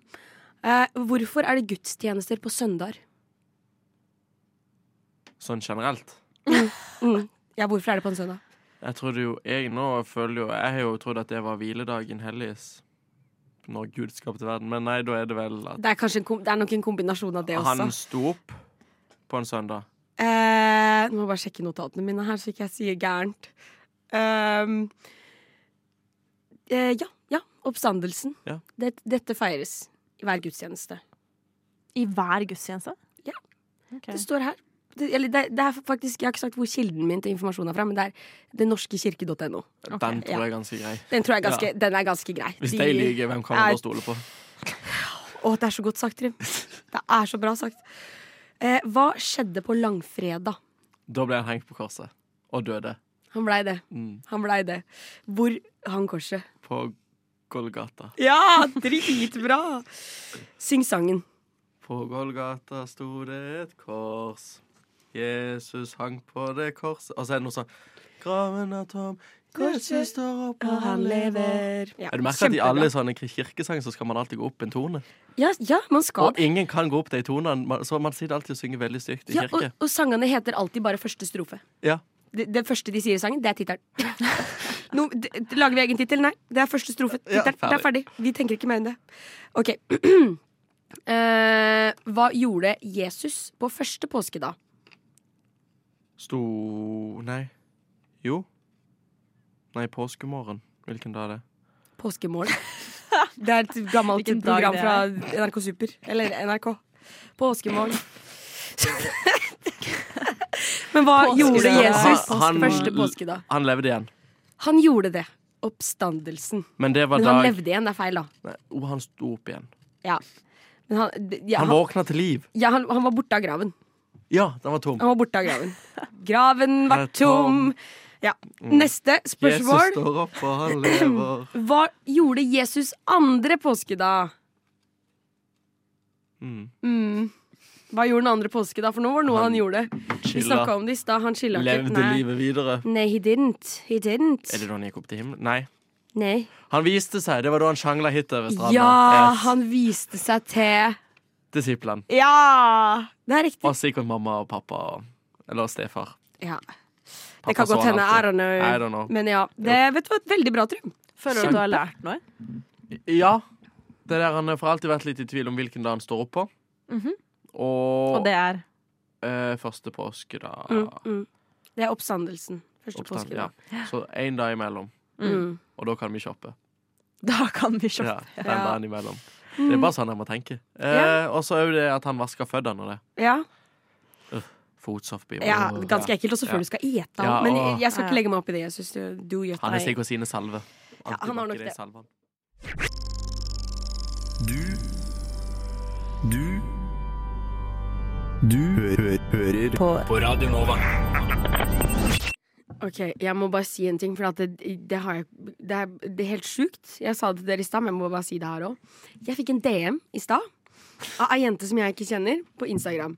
B: Eh, hvorfor er det gudstjenester på søndager?
C: Sånn generelt.
B: Ja, hvorfor er det på en søndag?
C: Jeg trodde jo, jeg nå føler jo Jeg har jo trodd at det var hviledagen helliges når Gud skapte verden, men nei, da er det vel at
B: Det er, kanskje en kom det er nok en kombinasjon av det også.
C: han sto opp på en søndag.
B: Eh, nå må jeg bare sjekke notatene mine her, så ikke jeg sier gærent. Ehm, eh, ja, ja. Oppstandelsen.
C: Ja.
B: Det, dette feires i hver gudstjeneste.
D: I hver gudstjeneste?
B: Ja.
D: Ok.
B: Det står her. Det, eller det, det er faktisk, Jeg har ikke sagt hvor kilden min til informasjon er fra, men det er dennorskekirke.no.
C: Den tror
B: ja.
C: jeg er ganske grei.
B: Den tror jeg er ganske, den er ganske grei.
C: Hvis
B: De-
C: de lyver, hvem kan man
B: Nei.
C: da stole på?
B: Å, det er så godt sagt, Trym. Det er så bra sagt. Eh, hva skjedde på langfredag?
C: Da ble han hengt på korset og døde.
B: Han blei det.
C: Mm.
B: Han blei det. Hvor hang korset?
C: På Golgata.
B: Ja, dritbra! Syng sangen.
C: På Golgata sto det et kors. Jesus hang på det korset Og så er det noe sånn Graven er tom,
B: Korset
C: står opp,
B: og han lever. Ja,
C: Er du merker at i alle
B: kjempebra.
C: sånne kirkesanger så skal man alltid gå opp en tone?
B: Ja, ja man skal
C: Og ingen kan gå opp de tonene, man- så man sitter alltid og synger veldig stygt i
B: Ja, og,
C: kirke.
B: og sangene heter alltid bare første strofe.
C: Ja.
B: Det, det første de sier i sangen, det er tittelen. <laughs> No, d- d- lager vi egen tittel? Nei, det er første strofe.
C: Ja,
B: Tittelen, det er ferdig.
C: ferdig.
B: Vi tenker ikke mer enn det. Ok. <clears throat> Eh, hva gjorde Jesus på første påskedag?
C: Sto Nei. Jo. Nei, påskemorgen. Hvilken dag er det?
B: Påskemorgen. Det er et gammelt
D: Hvilken dag
B: program
D: det er.
B: fra NRK Super. Eller NRK. Påskemorgen. <laughs> Men hva gjorde
D: Påskedag.
B: Jesus
C: Han-
B: første påskedag?
C: Han levde igjen.
B: Han gjorde det. Oppstandelsen.
C: Men det var
B: Men han
C: dag
B: levde igjen, det er feil, da.
C: Nei, oh, han sto opp igjen.
B: Ja. Men han, d- ja,
C: Han
B: han,
C: våkna til liv.
B: ja, han, han var borte av graven.
C: Ja, den var tom.
B: Han var borte av
C: <laughs>
B: graven. Graven var
C: Er tom. Mm.
B: tom. Ja. Neste
C: Jesus
B: spørsmål.
C: står opp, og han lever.
B: Hva gjorde Jesus andre påskedag?
C: Mm.
B: Mm. Hva gjorde den andre påskedag? For nå var det noe han,
C: Han
B: gjorde. <clears throat> Vi snakka
C: Chilla.
B: om det i stad. Han chilla ikke.
C: Levde
B: Nei.
C: livet videre.
B: Nei, he didn't. He didn't.
C: Er det da han gikk opp til himmelen? Nei.
B: Nei.
C: Han viste seg. Det var da han sjangla hit over stranda.
B: Ja,
C: Yes.
B: han viste seg til
C: Disiplene.
B: Ja! Det er riktig.
C: Og sikkert mamma og pappa. Eller stefar.
B: Ja.
C: Pappa
B: Det kan
C: så
B: godt
C: han
B: hende. I don't
C: alltid.
B: know.
C: I don't know.
B: Men ja. Det vet du, hva, et veldig bra, Trym.
D: Føler du at du har lært noe?
C: Ja. Det der han får alltid vært litt i tvil om hvilken dag han står opp på.
D: Mhm.
C: Og,
D: Og det er
C: eh, første påske, da.
B: Mm, mm. Det er oppstandelsen. Første
C: Oppstand,
B: påskedag.
C: ja. Så én dag imellom,
B: Mm.
C: og da kan vi shoppe.
D: Da kan vi shoppe.
C: Ja, den
B: Ja. Mm.
C: dagen imellom. Det er bare sånn jeg må tenke. Eh, Og så òg det at han vasker føttene og det.
B: Ja.
C: Fotsoft blir
B: ja, ganske ekkelt, også før
C: Ja.
B: du skal ete.
C: Ja,
B: men
C: åh.
B: jeg- jeg skal ikke
D: Ja.
B: legge meg opp i det. Jeg synes det- do your
C: Han er
B: thing.
C: sikkert sine salve.
B: Ja, han har nok det.
C: Salven.
F: Du Du Du hø hø hører på. Radio Nova.
B: Ok, Jeg må bare si en ting, for at det, det, har jeg, det, er, det er helt sjukt. Jeg sa det til dere i stad, men jeg må bare si det her òg. Jeg fikk en DM i stad av ei jente som jeg ikke kjenner, på Instagram.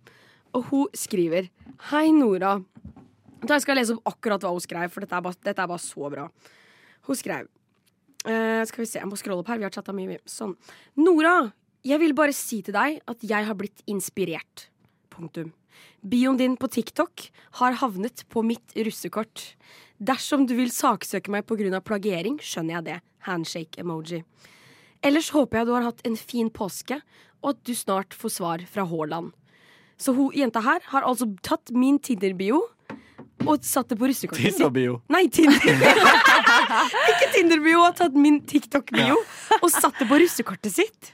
B: Og hun skriver Hei, Nora. Jeg tror jeg skal lese opp akkurat hva hun skrev, for dette er bare, dette er bare så bra. Hun skrev eh, Skal vi se, jeg må scrolle opp her. Vi har chatta mye. vi. Sånn. Nora, jeg vil bare si til deg at jeg har blitt inspirert. Punktum. Bioen din på TikTok har havnet på mitt russekort. Dersom du vil saksøke meg pga. plagiering, skjønner jeg det. Handshake-emoji. Ellers håper jeg du har hatt en fin påske, og at du snart får svar fra Haaland. Så hun jenta her har altså tatt min Tinder-bio og satt det på russekortet sitt.
C: Tinder-bio.
B: Nei, Tinder. Ikke Tinder-bio, har tatt min TikTok-bio og satt det på russekortet sitt.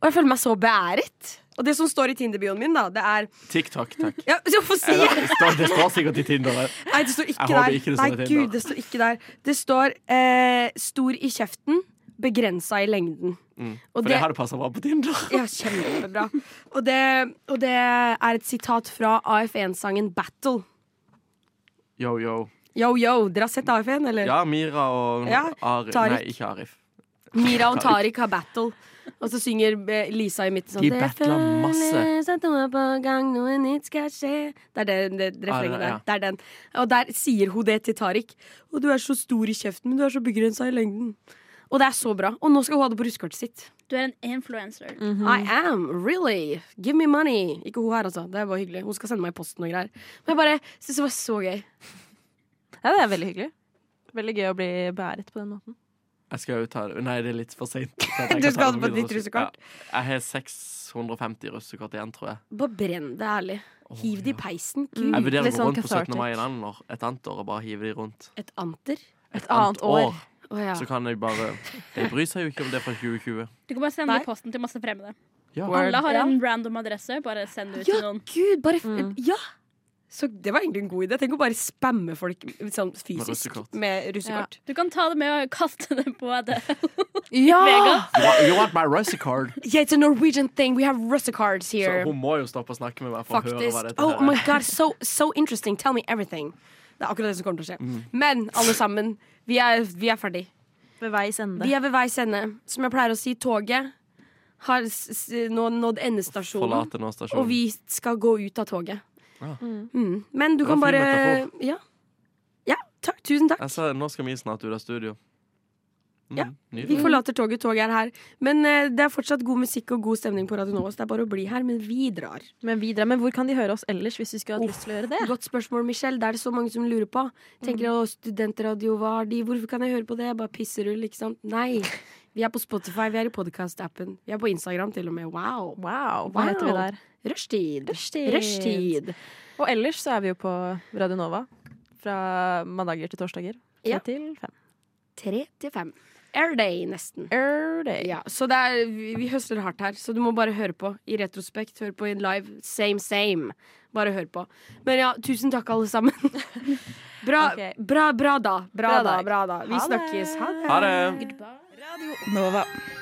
B: Og jeg føler meg så beæret. Og det som står i Tinder-bioen min, da, det er
C: TikTok, takk.
B: <laughs> ja, så jeg får si
C: Eller, det, står, det står sikkert i Tinder. eh. det.
B: Nei, det står ikke
C: Jeg håper
B: der.
C: ikke det står
B: Nei,
C: i Tinder.
B: gud, det står ikke der. Det står eh, stor i kjeften, begrensa i lengden.
C: Mm. For
B: Og
C: det
B: det,
C: hadde passa bra på
B: <laughs>
C: Tinder.
B: ja, kjempebra. Og det, og det er et sitat fra AF1-sangen Battle.
C: Yo, yo.
B: Yo, yo, dere har sett AF1, eller?
C: Ja, Mira og
B: Ja,
C: Arif.
B: Tariq.
C: Nei, ikke Arif.
B: Mira og Tariq har battle. Og så synger eh, Lisa i midten sånn
C: De
B: «Det
C: battler masse.
B: føles at noe er på gang, noe nytt skal skje Det er den, det refrenget
C: Ah,
B: der.
C: ja.
B: Det er den. Og der sier hun det til Tariq. Og du er så stor i kjeften, men du er så begrensa i lengden. Og det er så bra. Og nå skal hun ha det på russekortet sitt.
G: Du er en influencer.
B: I am, really. Give me money. Ikke hun her, altså. Det er bare hyggelig. Hun skal sende meg i posten og greier. Men jeg bare synes det var så gøy.
D: Ja, det er veldig hyggelig. Veldig gøy å bli beæret på den måten.
C: Jeg skal jo ta det Nei, det er litt
B: <laughs>
C: for seint.
B: Du skal ha det på ditt russekort?
C: Jeg har 650 russekort igjen, tror jeg.
B: Bare brenn det, ærlig. Hiv det i peisen. Kul.
C: Jeg vurderer å
D: Litt
C: gå
D: sånn
C: rundt på 17.
D: cathartic.
C: mai en annen år, et annet år og bare hive de rundt.
B: Et anter.
C: Et
D: annet år.
B: Å ja.
C: Så kan jeg bare De bryr seg jo ikke om det er fra 2020.
G: Du kan bare sende
B: Nei.
G: i posten til masse fremmede.
C: Ja.
G: Alle har
B: Ja.
G: en random adresse. Bare send det ut
B: Ja,
G: til noen.
B: gud, bare f
D: Mm.
B: Ja! Så det var egentlig en god idé. Tenk å bare spamme folk sånn fysisk
C: russekort.
B: med russekort.
G: Du kan ta det med og kaste det på det.
B: Ja!
C: You want- You want my russekort?
B: Yeah, it's a Norwegian thing. We have russecards
C: Så
B: here.
C: hun må jo stoppe å snakke med meg for å høre hva
B: Faktisk.
C: dette
B: Oh
C: her
B: my
C: er.
B: god, so, so interesting. Tell me everything. Det er akkurat det som kommer til å skje.
C: Mm.
B: Men alle sammen, vi er, vi er ferdig.
D: Ved veis ende.
B: Vi er ved veis ende. Som jeg pleier å si, toget har s s nå nådd endestasjonen.
C: Forlate nå
B: Og
C: stasjonen.
B: vi skal gå ut av toget.
C: Ja.
B: Mm. Men du
C: Det
B: kan
C: var en
B: bare
C: fin
B: ja. ja, Takk, tusen takk.
C: Altså, nå skal vi snart ut av studio. Mm,
B: Ja, Vi
C: nydelig.
B: forlater toget, toget er her. Men eh, det er fortsatt god musikk og god stemning på Radio Nova, så det er bare å bli her. Men vi drar.
D: Men videre, men hvor kan de høre oss ellers hvis vi skulle hatt lyst til å gjøre det?
B: Godt spørsmål, Michelle. Det er det så mange som lurer på. Tenker å, studentradio, hva har de? Hvorfor kan jeg høre på det? Bare pisserull, ikke sant? Nei. Vi er på Spotify, vi er i podkast-appen. Vi er på Instagram til og med. Wow.
D: Wow, hva heter vi
B: Wow.
D: der?
B: Rushtid.
D: Rushtid. Og ellers så er vi jo på Radio Nova fra mandager til torsdager. Tre
B: Ja.
D: til fem.
B: Tre til fem. Airday, nesten.
D: Er det?
B: Ja, så det er, vi, vi høsler hardt her, så du må bare høre på i retrospekt. Hør på i live. Same, same. Bare hør på. Men ja, tusen takk, alle sammen. <laughs> Bra,
D: Ok.
B: bra, bra da. Bra, da,
D: Bra dag.
B: bra da. Vi
D: Ha det.
B: snakkes. Ha det.
C: Ha det.
G: Goodbye.
D: Radio Nova.